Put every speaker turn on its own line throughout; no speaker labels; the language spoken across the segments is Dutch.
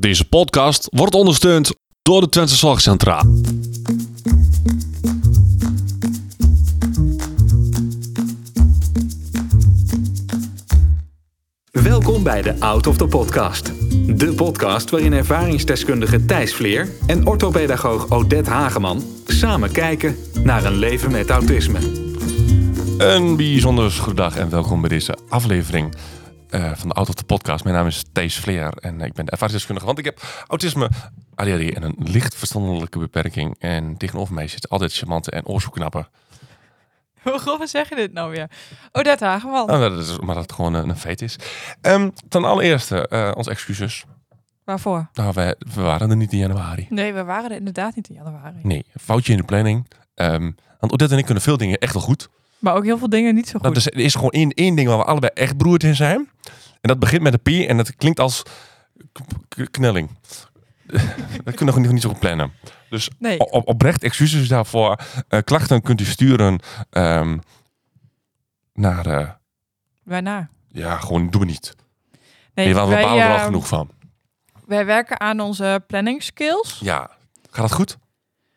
Deze podcast wordt ondersteund door de Twentse Zorgcentra.
Welkom bij de Out of the Podcast. De podcast waarin ervaringsdeskundige Thijs Vleer en orthopedagoog Odette Hageman samen kijken naar een leven met autisme.
Een bijzonder goedendag en welkom bij deze aflevering eh, van de Out of the Podcast. Mijn naam is Thees Vleer en ik ben de ervaringsdeskundige, want ik heb autisme, ADHD en een licht verstandelijke beperking. En tegenover mij zit altijd charmante en oorzoeknappen.
Hoe grof zeg je dit nou weer? Odette Hageman.
Nou, dat is- maar dat het gewoon een, een feit is. Ehm, ten allereerste, eh ons excuses.
Waarvoor?
Nou, wij, we waren er niet in januari.
Nee, we waren er inderdaad niet in januari.
Nee, foutje in de planning. Ehm, want Odette en ik kunnen veel dingen echt wel goed.
Maar ook heel veel dingen niet zo goed.
Dat is, er is gewoon één, één ding waar we allebei echt broerd in zijn. En dat begint met een P en dat klinkt als k- k- knelling. dat kunnen we nog niet zo goed plannen. Dus
Nee,
o- op, oprecht excuses daarvoor. Eh, klachten kunt u sturen ehm, naar... eh,
waarna?
ja, gewoon doe het niet.
Nee,
Nee, want we
wij,
balen er al
eh,
genoeg van.
wij werken aan onze planning skills.
Ja. Gaat dat goed?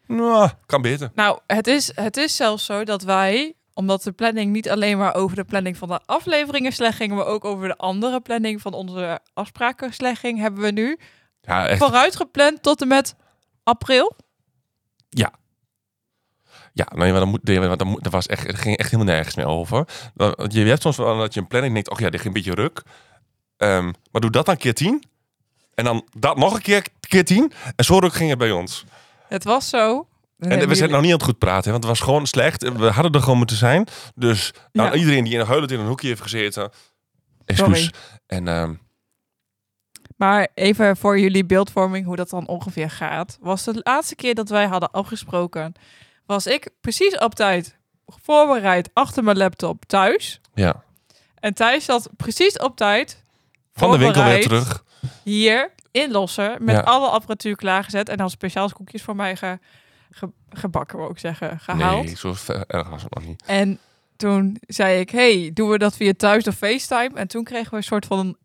Nou, kan beter.
Nou, het is, het is zelfs zo dat wij, omdat de planning niet alleen maar over de planning van de afleveringen slecht ging, maar ook over de andere planning van onze afspraken slecht ging, hebben we nu
Ja, echt.
vooruit gepland tot en met april.
Ja, nee, maar dan moet, nee, maar dan moet, dat was echt, er ging echt helemaal nergens meer over. Dan- want Je, je hebt soms wel dat je een planning denkt, oh ja, dit ging een beetje ruk. Ehm, maar doe dat dan keer tien. En dan dat nog een keer, keer tien. En zo ruk ging het bij ons.
Het was zo.
En we zijn
jullie-
nog niet aan het goed praten, hè, want het was gewoon slecht. We hadden er gewoon moeten zijn. Dus nou,
Ja.
iedereen die in een huilend in een hoekje heeft gezeten, excuus. En ehm,
Maar even voor jullie beeldvorming hoe dat dan ongeveer gaat. Was de laatste keer dat wij hadden afgesproken, was ik precies op tijd voorbereid achter mijn laptop thuis.
ja,
En Thijs zat precies op tijd
van de winkel weer
Voorbereid.
terug.
hier in Lossen met
Ja.
alle apparatuur klaargezet en dan speciaal koekjes voor mij ge, ge- gebakken, wou ik zeggen, gehaald.
Nee, zo ver- erg was het nog niet.
En toen zei ik, hey, doen we dat via thuis of FaceTime? En toen kregen we een soort van,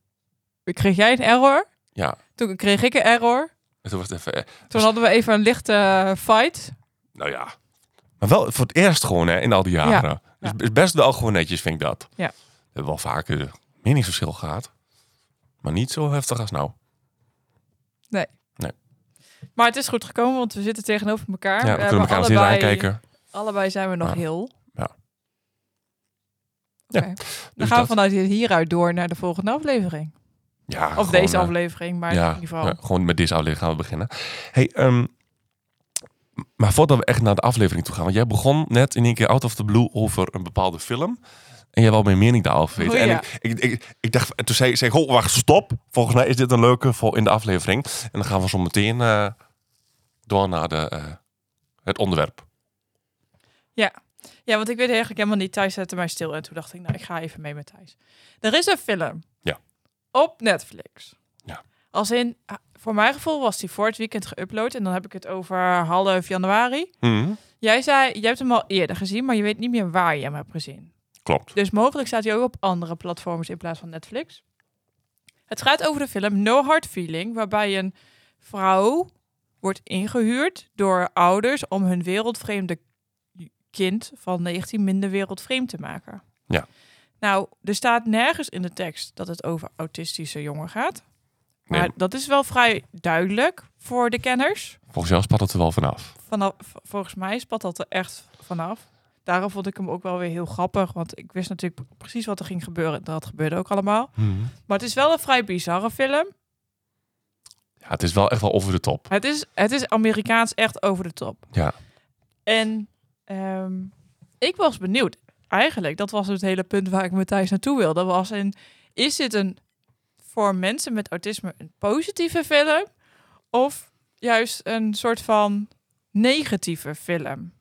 kreeg jij een error?
Ja,
Toen kreeg ik een error.
en toen was het even... eh,
Toen hadden we even een lichte eh, fight.
Nou ja. Maar wel voor het eerst gewoon, hè, in al die jaren. Dus is best wel gewoon netjes, vind ik dat.
Ja.
We hebben wel vaker eh, meningsverschil gehad. Maar niet zo heftig als nou.
Maar het is goed gekomen, want we zitten tegenover elkaar.
ja, we kunnen elkaar nog niet
allebei,
aankijken.
Allebei zijn we nog
Ja.
heel.
Ja.
Oké.
Ja,
Dan
Dus
gaan we
dat-
vanuit hieruit door naar de volgende aflevering.
ja,
Of
gewoon,
deze
eh,
aflevering, maar in
Ja,
ieder geval.
ja, gewoon met deze aflevering gaan we beginnen. Hey, ehm, maar voordat we echt naar de aflevering toe gaan. Want jij begon net in één keer out of the blue over een bepaalde film. En jij wou mijn mening daarover weten.
Oh,
En
ja.
ik, ik, ik, ik dacht, en toen zei zei ik, oh wacht, stop. Volgens mij is dit een leuke voor in de aflevering. En dan gaan we zo meteen eh, door naar de, eh, het onderwerp.
Ja, want ik weet eigenlijk helemaal niet. Thijs zette mij stil en toen dacht ik, nou, ik ga even mee met Thijs. Er is een film.
Ja.
Op Netflix.
Ja.
Als in, ah, voor mijn gevoel was die voor het weekend geüpload. En dan heb ik het over half januari.
Mhm,
Jij zei, je hebt hem al eerder gezien, maar je weet niet meer waar je hem hebt gezien.
Klopt.
Dus mogelijk staat hij ook op andere platforms in plaats van Netflix. Het gaat over de film No Hard Feeling, waarbij een vrouw wordt ingehuurd door ouders om hun wereldvreemde kind van 19 minder wereldvreemd te maken.
Ja.
Nou, er staat nergens in de tekst dat het over autistische jongen gaat. Maar
Nee,
dat is wel vrij duidelijk voor de kenners
volgens jou spat het er wel vanaf.
vanaf, v- volgens mij spat dat er echt vanaf. Daarom vond ik hem ook wel weer heel grappig, want ik wist natuurlijk precies wat er ging gebeuren. Dat gebeurde ook allemaal.
Mhm.
Maar het is wel een vrij bizarre film.
Ja, het is wel echt wel over de top.
Het is, het is Amerikaans echt over de top.
Ja.
En ehm, ik was benieuwd. Eigenlijk, dat was het hele punt waar ik met Thijs naartoe wilde. Was in, is dit een voor mensen met autisme een positieve film? Of juist een soort van negatieve film?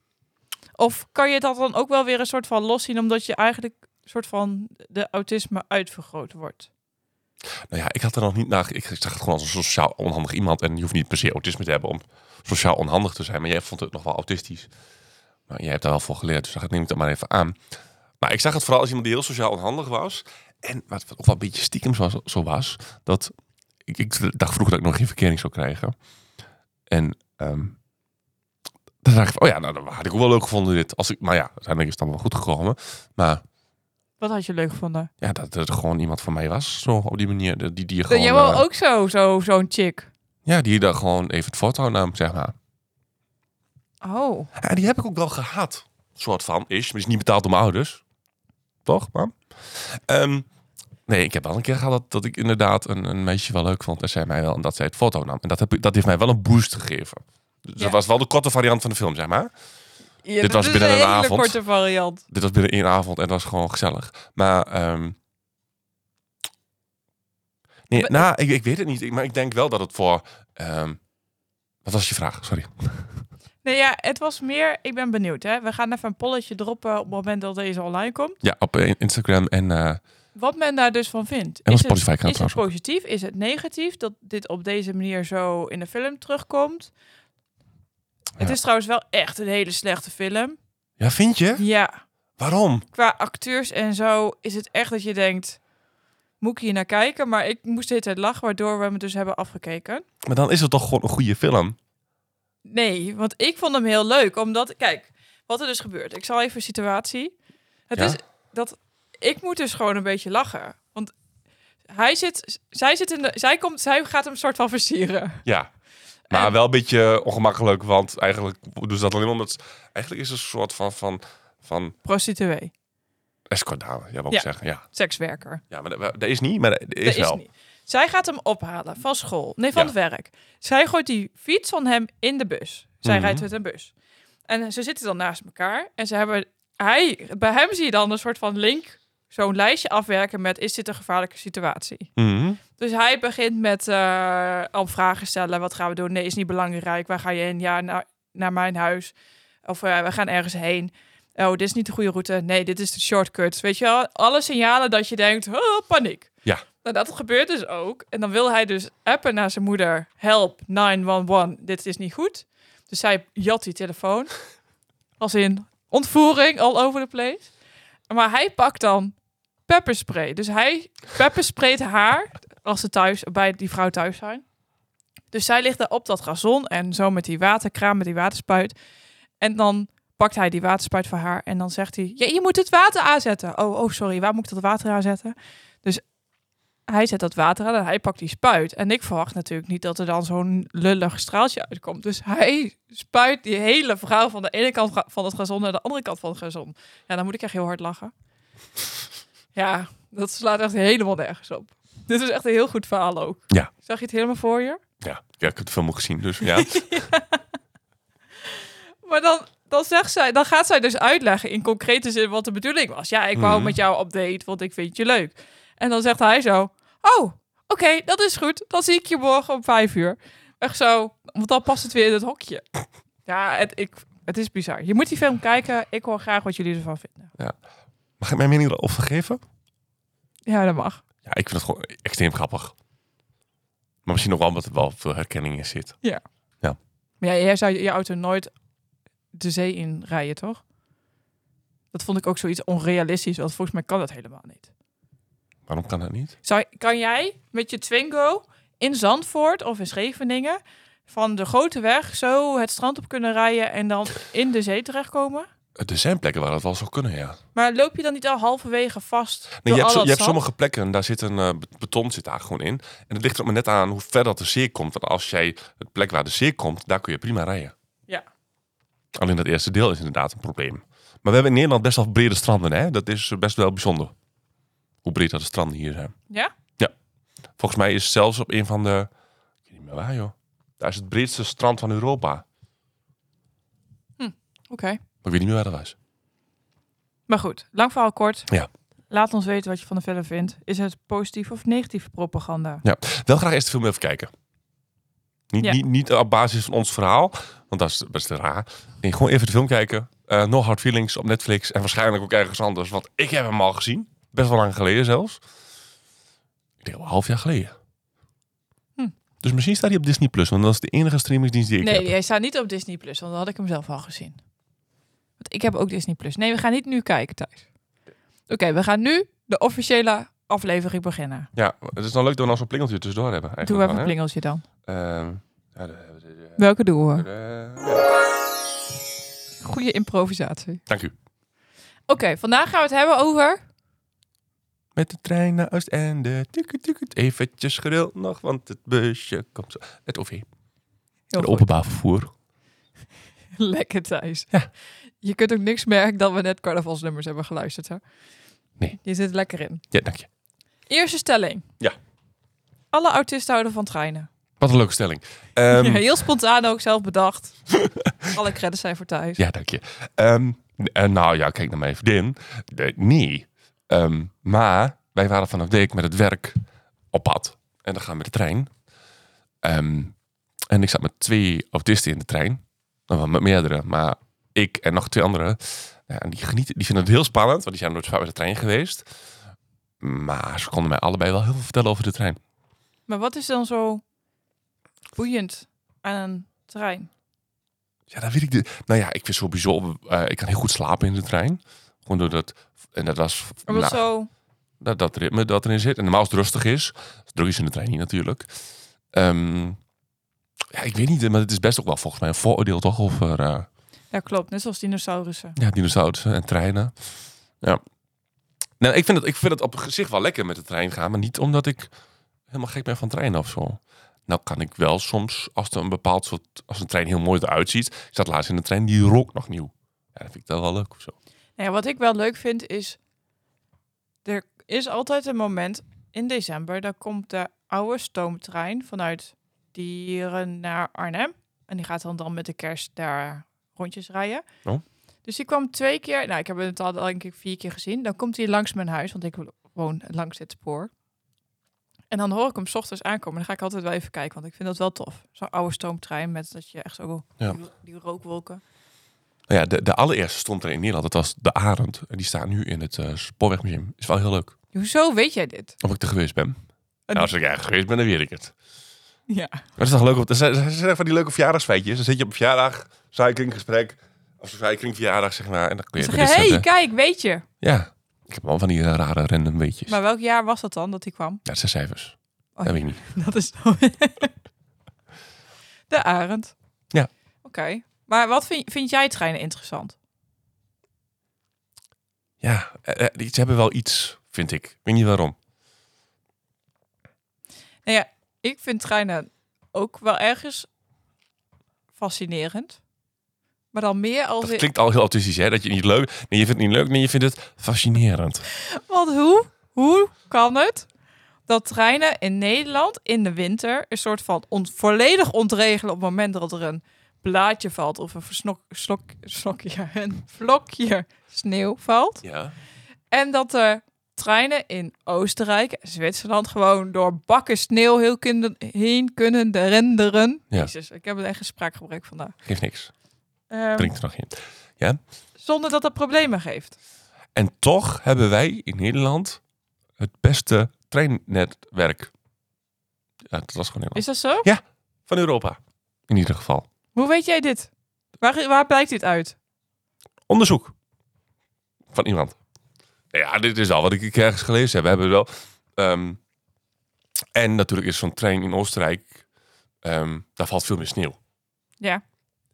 Of kan je dat dan ook wel weer een soort van loszien, omdat je eigenlijk een soort van de autisme uitvergroot wordt?
Nou ja, ik had er nog niet naar. Ik zag het gewoon als een sociaal onhandig iemand. En je hoeft niet per se autisme te hebben om sociaal onhandig te zijn. Maar jij vond het nog wel autistisch. Maar jij hebt daar wel voor geleerd. Dus dat neem ik dat maar even aan. Maar ik zag het vooral als iemand die heel sociaal onhandig was. En wat, wat ook wel een beetje stiekem zo, zo was. Dat ik, ik dacht vroeger dat ik nog geen verkering zou krijgen. En ehm dan dacht ik, van, oh ja, nou, dat had ik ook wel leuk gevonden dit. Als ik, maar ja, uiteindelijk is het dan wel goed gekomen. Maar
Wat had je leuk gevonden?
ja, dat er gewoon iemand van mij was, zo op die manier. de- Die, die je
Dat
gewoon,
jij wel
eh,
ook zo'n zo, zo'n chick.
Ja, die daar gewoon even het voortouw nam, zeg maar.
Oh,
Ja, die heb ik ook wel gehad. Soort van, is. Maar die is niet betaald door mijn ouders. Toch, man? Ehm, nee, ik heb wel een keer gehad dat, dat ik inderdaad een, een meisje wel leuk vond. En zij mij wel, en dat zij het foto nam. En dat, heb, ik- dat heeft mij wel een boost gegeven. Dus
Ja.
Dat was wel de korte variant van de film, zeg maar.
Ja,
Dit was
is
binnen een
dus hele
avond.
korte variant.
Dit was binnen één avond en dat was gewoon gezellig. Maar, ehm, nee,
Maar-
nou, ik, ik weet het niet. Ik- maar ik denk wel dat het voor... ehm, wat was je vraag? Sorry.
Nee, ja, het was meer... Ik ben benieuwd, hè. We gaan even een polletje droppen op het moment dat deze online komt.
Ja, op eh, Instagram en, eh,
Wat men daar dus van vindt.
en op
Is het-
Spotify kan het
Is het
trouwens ook.
positief? Is het negatief dat dit op deze manier zo in de film terugkomt? Het
Ja.
is trouwens wel echt een hele slechte film.
Ja, vind je?
Ja,
Waarom?
qua acteurs en zo is het echt dat je denkt... Moet ik hier naar kijken? Maar ik moest de hele tijd lachen, waardoor we hem dus hebben afgekeken.
Maar dan is het toch gewoon een goede film?
Nee, want ik vond hem heel leuk. Omdat, kijk, wat er dus gebeurt. Ik zal even een situatie. Het
Ja?
is dat ik moet dus gewoon een beetje lachen. Want hij zit, zij zit in de, zij komt, zij gaat hem soort van versieren.
Ja. Maar
En-
wel een beetje ongemakkelijk, want eigenlijk doen ze dat alleen omdat... ze- Eigenlijk is het een soort van, van, van
Prostituee,
escortdame, ja, wil ik
Ja.
zeggen. Ja,
sekswerker.
ja maar dat, dat is niet, maar dat is
Dat
wel.
niet. Zij gaat hem ophalen van school, nee, van
Ja.
het werk. Zij gooit die fiets van hem in de bus. Zij
Mhm.
rijdt met een bus. En ze zitten dan naast elkaar. En ze hebben, hij, bij hem zie je dan een soort van link, zo'n lijstje afwerken met: is dit een gevaarlijke situatie?
Mhm.
Dus hij begint met eh, al vragen stellen. Wat gaan we doen? Nee, is niet belangrijk. Waar ga je heen? Ja, naar, naar mijn huis. Of eh, we gaan ergens heen. Oh, dit is niet de goede route. Nee, dit is de shortcut. Weet je wel? Alle signalen dat je denkt, oh, paniek.
Ja.
Nou, dat gebeurt dus ook. En dan wil hij dus appen naar zijn moeder. Help, 911, dit is niet goed. Dus zij jat die telefoon. Als in ontvoering, all over the place. Maar hij pakt dan pepperspray. Dus hij peppersprayt haar als ze thuis, bij die vrouw thuis zijn. Dus zij ligt daar op dat gazon en zo met die waterkraan, met die waterspuit. En dan pakt hij die waterspuit voor haar en dan zegt hij... "Ja, je moet het water aanzetten. Oh, oh, sorry, waar moet ik dat water aanzetten? Dus hij zet dat water aan en hij pakt die spuit. En ik verwacht natuurlijk niet dat er dan zo'n lullig straaltje uitkomt. Dus hij spuit die hele vrouw van de ene kant ga- van het gazon naar de andere kant van het gazon. Ja, dan moet ik echt heel hard lachen. Ja, dat slaat echt helemaal nergens op. Dit is echt een heel goed verhaal ook.
Ja.
Zag je het helemaal voor je?
Ja, ja, ik heb de film ook gezien, dus ja.
Maar dan, dan, zegt zij, dan gaat zij dus uitleggen in concrete zin wat de bedoeling was. Ja, ik wou
Mhm.
met jou op date, want ik vind je leuk. En dan zegt hij zo, oh, oké, dat is goed. Dan zie ik je morgen om vijf uur. Echt zo, want dan past het weer in het hokje. Ja, het, ik, het is bizar. Je moet die film kijken. Ik hoor graag wat jullie ervan vinden.
Mag ik mijn mening erover geven?
Ja, dat mag.
Ja, ik vind het gewoon extreem grappig. Maar misschien nog wel omdat er wel veel herkenning in zit.
Maar ja, jij zou je auto nooit de zee in rijden, toch? Dat vond ik ook zoiets onrealistisch, want volgens mij kan dat helemaal niet.
Waarom kan dat niet?
Zou, kan jij met je Twingo in Zandvoort of in Scheveningen van de grote weg zo het strand op kunnen rijden en dan in de zee terechtkomen?
Er zijn plekken waar dat wel zou kunnen, ja.
Maar loop je dan niet al halverwege vast door
Nee, je hebt,
al
zo-
dat
je hebt
zand?
sommige plekken, daar zit een eh, bet- beton zit daar gewoon in. En het ligt er ook maar net aan hoe ver dat de zeer komt. Want als jij het plek waar de zeer komt, daar kun je prima rijden.
Ja.
Alleen dat eerste deel is inderdaad een probleem. Maar we hebben in Nederland best wel brede stranden, hè? Dat is eh, best wel bijzonder. Hoe breed dat de stranden hier zijn.
Ja?
Volgens mij is zelfs op een van de... Ik weet niet meer waar, joh. Daar is het breedste strand van Europa. Maar
Oké.
ik weet niet meer waar dat was.
Maar goed, lang verhaal kort.
Ja.
Laat ons weten wat je van de film vindt. Is het positief of negatief propaganda?
Wel graag eerst de film even kijken. Niet,
Ja.
niet, niet op basis van ons verhaal, want dat is best raar. Nee, gewoon even de film kijken. Eh no Hard Feelings op Netflix en waarschijnlijk ook ergens anders. Want ik heb hem al gezien. Best wel lang geleden zelfs. Ik denk al een half jaar geleden.
Hm.
Dus misschien staat hij op Disney+. Plus, want dat is de enige streamingsdienst die ik
nee,
heb.
hij staat niet op Disney Plus, want dan had ik hem zelf al gezien. Want ik heb ook Disney Plus. Nee, we gaan niet nu kijken thuis. Oké, we gaan nu de officiële aflevering beginnen.
Ja, het is dan leuk dat we nog zo'n plingeltje tussendoor hebben. eigenlijk
Doe
dan,
even een
hè?
plingeltje dan.
Ehm, ja, de- de- de-
Welke doen we?
de- ja.
Goede improvisatie.
Dank u.
Oké, vandaag gaan we het hebben over...
Met de trein naar Oost en de tukut tukut. Eventjes geduld nog, want het busje komt zo. Het OV.
Heel
het
goed.
openbaar vervoer.
Lekker Thijs. Je kunt ook niks merken dat we net carnavalsnummers hebben geluisterd. Hè?
Nee.
Je zit lekker in.
Ja, dank je.
Eerste stelling.
Ja.
Alle autisten houden van treinen.
Wat een leuke stelling. Ehm,
Ja, heel spontaan ook, zelf bedacht. Alle credits zijn voor Thijs.
Ja, dank je. Ehm, n- eh, nou ja, kijk naar mijn vriendin. De- nee. Ehm, maar wij waren vanaf Dijk met het werk op pad. En dan gaan we met de trein. Ehm, en ik zat met twee autisten in de trein. Nou, wel met meerdere, maar ik en nog twee anderen. Ja, en die, genieten, die vinden het heel spannend, want die zijn nooit zo vaak met de trein geweest. Maar ze konden mij allebei wel heel veel vertellen over de trein.
Maar wat is dan zo boeiend aan een trein?
Ja, dat weet ik. niet. Nou ja, ik vind sowieso... eh ik kan heel goed slapen in de trein. Gewoon door dat... En dat was...
Omdat
nou,
zo...
dat, dat ritme dat erin zit. En normaal als het rustig is, druk is in de trein niet natuurlijk. Ehm, ja, ik weet niet, maar het is best ook wel volgens mij een vooroordeel toch over eh
Ja, klopt. Net zoals dinosaurussen.
ja, dinosaurussen en treinen. Ja. Nou, ik, vind het, ik vind het op zich wel lekker met de trein gaan, maar niet omdat ik helemaal gek ben van treinen of zo. Nou kan ik wel soms, als er een bepaald soort, als een trein heel mooi eruit ziet. Ik zat laatst in een trein, die rook nog nieuw. Ja, dat vind ik dan wel leuk of zo.
Nou ja, wat ik wel leuk vind is... Er is altijd een moment in december... dan komt de oude stoomtrein vanuit Dieren naar Arnhem. En die gaat dan, dan met de kerst daar rondjes rijden.
Oh.
Dus die kwam twee keer... Nou, ik heb het al denk ik vier keer gezien. Dan komt hij langs mijn huis, want ik woon langs dit spoor. En dan hoor ik hem 's ochtends aankomen. Dan ga ik altijd wel even kijken, want ik vind dat wel tof. Zo'n oude stoomtrein met dat je echt zo...
Ja.
Die, die rookwolken.
Nou ja, de, de allereerste stond er in Nederland, dat was de Arend. En die staat nu in het eh, Spoorwegmuseum. Is wel heel leuk.
Hoezo weet jij dit?
Of ik er geweest ben.
En-
Nou, als ik ergens geweest ben, dan weet ik het.
Ja.
Maar het is toch leuk. om- Er zijn, er zijn van die leuke verjaardagsfeitjes. Dan zit je op een verjaardag, suikeringgesprek. Of zo'n suikeringverjaardag, zeg maar. En dan kun je
Zeg
dit
je, hey,
zetten.
kijk, weet je.
Ja. Ik heb al van die eh, rare random weetjes.
Maar welk jaar was dat dan dat hij kwam?
Ja, het zijn cijfers.
Oh,
Dat weet ik niet.
dat is de arend.
Ja.
Oké. Maar wat vind, vind jij treinen interessant?
Ja, eh, eh, die- ze hebben wel iets, vind ik. Ik weet niet waarom.
Nou ja, ik vind treinen ook wel ergens fascinerend. Maar dan meer als...
Dat
in-
klinkt al heel autistisch, hè? Dat je niet leuk... Nee, je vindt het niet leuk. Nee, je vindt het fascinerend.
Want hoe, hoe kan het dat treinen in Nederland in de winter een soort van on- volledig ontregelen op het moment dat er een blaadje valt of een versnok, slok, slokje, een vlokje sneeuw valt.
Ja.
En dat er treinen in Oostenrijk en Zwitserland gewoon door bakken sneeuw heel kunnen, heen kunnen renderen.
Ja.
Jezus, ik heb echt een spraakgebrek vandaag.
Geeft niks.
Ehm,
Drink er nog in.
zonder dat dat problemen geeft.
En toch hebben wij in Nederland het beste treinnetwerk. Ja, dat was gewoon Nederland.
Is dat zo?
Van Europa. In ieder geval.
Hoe weet jij dit? Waar, waar blijkt dit uit?
Onderzoek. Van iemand. Nou Ja, dit is al wat ik ergens gelezen heb. We hebben wel... ehm, en natuurlijk is zo'n trein in Oostenrijk... ehm, daar valt veel meer sneeuw.
Ja.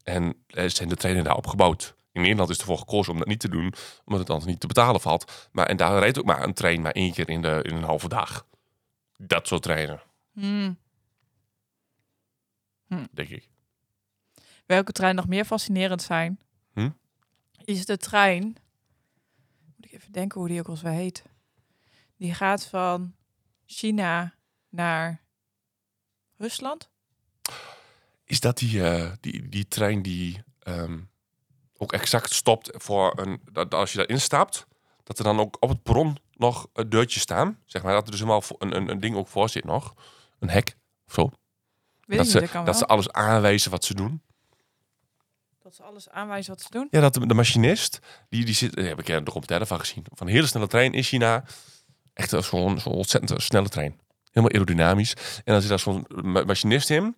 En eh, zijn de treinen daar opgebouwd. In Nederland is ervoor gekozen om dat niet te doen. Omdat het anders niet te betalen valt. Maar, en daar rijdt ook maar een trein maar één keer in, de, in een halve dag. Dat soort treinen,
Hmm.
denk ik.
Welke trein nog meer fascinerend zijn?
Hm?
Is de trein. Moet ik even denken hoe die ook als wij heet. Die gaat van China naar Rusland.
Is dat die, eh, die, die trein die ehm, ook exact stopt voor een. Dat, als je daarin stapt, dat er dan ook op het perron nog eh, deurtjes staan. Zeg maar dat er dus helemaal vo- een, een, een ding ook voor zit nog. Een hek of zo.
Weet
dat
ik
ze,
niet, dat kan
dat ze
wel.
alles aanwijzen wat ze doen.
dat ze alles aanwijzen wat ze doen.
Ja, dat de, de machinist, die, die zit. die heb ik er nog op derde van gezien. Van een hele snelle trein in China. Echt zo'n zo'n ontzettend eh, snelle trein. Helemaal aerodynamisch. En dan zit daar zo'n eh, ma- machinist in.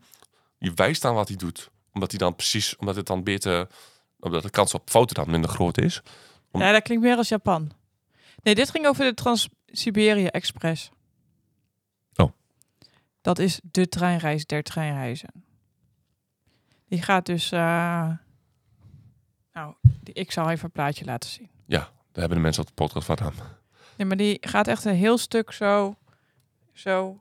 Die wijst aan wat hij doet. Omdat hij dan precies, omdat het dan beter. Omdat de kans op fouten dan minder groot is. om-
Ja, dat klinkt meer als Japan. Nee, dit ging over de trans Siberië Express.
Oh.
Dat is de treinreis der treinreizen. Die gaat dus... eh, nou, die- ik zal even een plaatje laten zien.
Daar hebben de mensen op de podcast wat aan.
Nee, maar die gaat echt een heel stuk zo... Zo...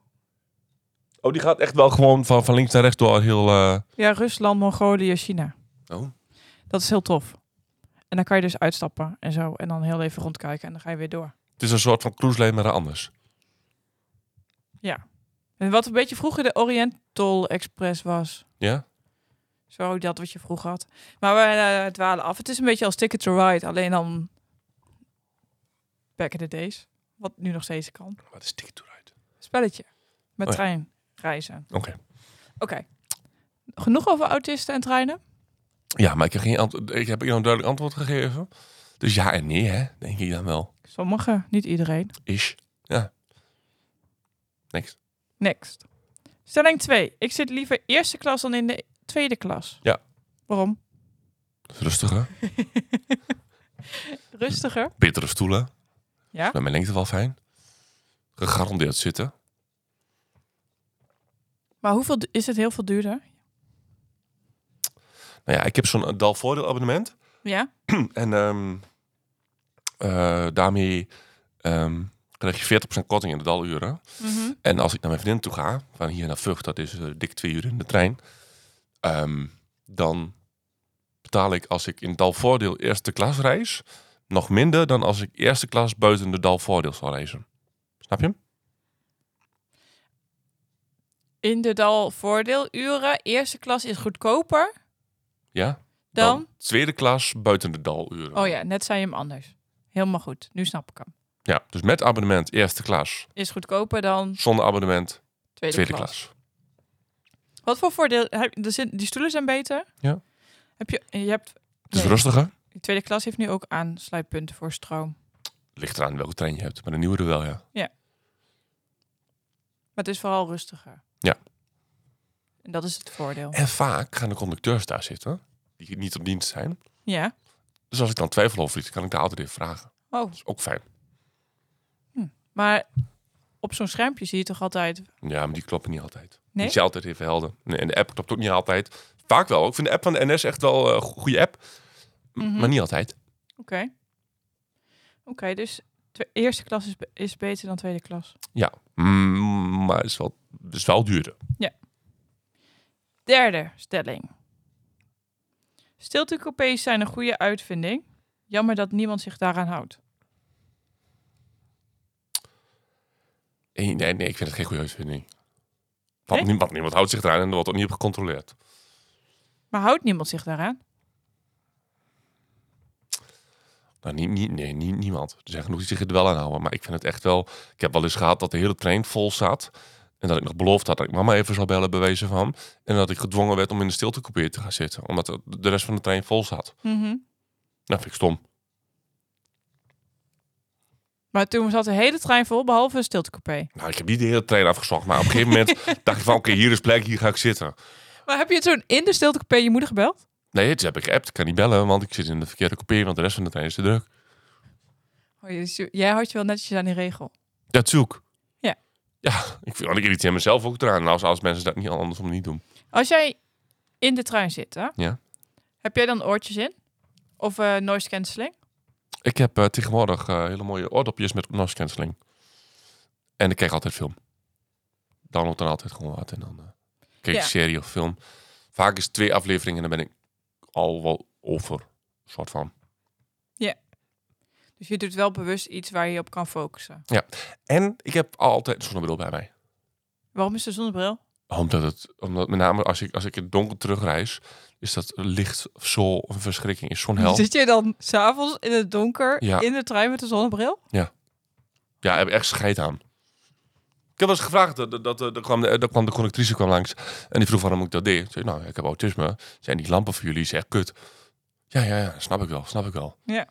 Oh, die gaat echt wel gewoon van, van links naar rechts door heel... eh,
Ja, Rusland, Mongolië, China.
Oh.
Dat is heel tof. En dan kan je dus uitstappen en zo. En dan heel even rondkijken en dan ga je weer door.
Het is een soort van cruiselijn, maar dan anders.
En wat een beetje vroeger de Oriental Express was.
Ja?
Zo, dat wat je vroeger had. Maar we eh, dwalen af. Het is een beetje als Ticket to Ride. Alleen dan back in the days. Wat nu nog steeds kan.
Wat is Ticket to Ride?
Spelletje. Met
Oh ja.
treinreizen.
Oké.
Oké. Genoeg over autisten en treinen?
Ja, maar ik heb, geen antwo- ik heb hier een duidelijk antwoord gegeven. Dus ja en nee, hè? Denk ik dan wel.
Sommigen, niet iedereen.
Ish. Ja. Niks.
Next. Stelling 2. Ik zit liever eerste klas dan in de tweede klas.
Ja.
Waarom?
Rustiger.
Rustiger.
Betere stoelen.
Ja.
Bij mijn lengte wel fijn. Gegarandeerd zitten.
Maar hoeveel du- is het heel veel duurder?
Nou ja, ik heb zo'n Dalvoordeel abonnement.
Ja.
En ehm, eh, daarmee ehm, krijg je 40% korting in de daluren.
Mhm.
En als ik naar mijn vriendin toe ga, van hier naar Vught, dat is eh, dik twee uur in de trein. ehm, dan betaal ik als ik in dalvoordeel eerste klas reis, nog minder dan als ik eerste klas buiten de dalvoordeel zal reizen. Snap je hem?
In de dal voordeeluren. Eerste klas is goedkoper
Ja?
dan...
tweede klas buiten de daluren.
Oh ja, net zei je hem anders. Helemaal goed. Nu snap ik hem.
Ja, dus met abonnement eerste klas,
Is goedkoper dan
zonder abonnement
tweede,
tweede
klas.
klas.
Wat voor voordeel... Heb, er zit- die stoelen zijn beter.
Ja.
Heb je, je hebt...
Het is
nee,
rustiger.
de tweede klas heeft nu ook aansluitpunten voor stroom.
Ligt eraan welke trein je hebt, maar de nieuwere wel, ja.
Maar het is vooral rustiger.
Ja.
En dat is het voordeel.
En vaak gaan de conducteurs daar zitten, die niet op dienst zijn.
Ja.
Dus als ik dan twijfel over iets, kan ik daar altijd even vragen.
Oh.
Dat is ook fijn.
Maar op zo'n schermpje zie je toch altijd...
Ja, maar die kloppen niet altijd.
Nee?
Die zijn altijd even helder. Nee, en de app klopt ook niet altijd. Vaak wel. Ik vind de app van de NS echt wel een goede app. M-
Mhm.
Maar niet altijd.
Oké. Oké, dus twe- eerste klas is, be- is beter dan tweede klas.
Mm, maar het is wel, het is wel duurder.
Derde stelling. Stiltecoupés zijn een goede uitvinding. Jammer dat niemand zich daaraan houdt.
Nee, nee, nee, ik vind het geen goede uitvinding. Want
Nee?
niemand, niemand houdt zich eraan en er wordt ook niet op gecontroleerd.
Maar houdt niemand zich daaraan?
Nou, niet, niet, nee, niet, niemand. Er zijn genoeg die zich er wel aan houden. Maar ik vind het echt wel... Ik heb wel eens gehad dat de hele trein vol zat. En dat ik nog beloofd had dat ik mama even zou bellen, bewezen van. En dat ik gedwongen werd om in de stiltecoupé te gaan zitten. Omdat de- de rest van de trein vol zat.
Mhm.
Nou, vind ik stom.
Maar toen zat de hele trein vol, behalve een stiltecoupé.
Nou, ik heb niet de hele trein afgezocht. Maar op een gegeven moment dacht ik van... Oké, hier is plek, hier ga ik zitten.
Maar heb je toen in de stiltecoupé je moeder gebeld?
Nee, het heb ik geappt. Ik kan niet bellen, want ik zit in de verkeerde coupé. Want de rest van de trein is te druk.
Oh, dus je- jij houdt je wel netjes aan die regel.
Dat zoek.
Ja.
Ja, ik, vind, want ik irriteer mezelf ook eraan. Als, als mensen dat niet andersom niet doen.
Als jij in de trein zit, hè?
Ja.
Heb jij dan oortjes in? Of eh, noise cancelling?
Ik heb eh, tegenwoordig eh, hele mooie oordopjes met noise cancelling. En ik kijk altijd film. Download dan altijd gewoon wat en dan eh, kijk ik
Ja.
serie of film. Vaak is het twee afleveringen en dan ben ik al wel over. Soort van.
Dus je doet wel bewust iets waar je op kan focussen.
En ik heb altijd een zonnebril bij mij.
Waarom is de zonnebril?
Omdat het, omdat met name als ik, als ik in het donker terugreis, is dat licht zo een verschrikking. Is zo'n hel.
Zit je dan s'avonds in het donker
Ja.
in de trein met een zonnebril?
Ja, daar heb ik echt scheid aan. Ik heb wel eens gevraagd, dat, dat, dat, dat kwam, de- dat kwam de conductrice kwam langs en die vroeg waarom ik dat deed. Ik zei, nou, ik heb autisme. Zijn die lampen voor jullie is echt kut. Ja, ja, ja, snap ik wel, snap ik wel.
Ja.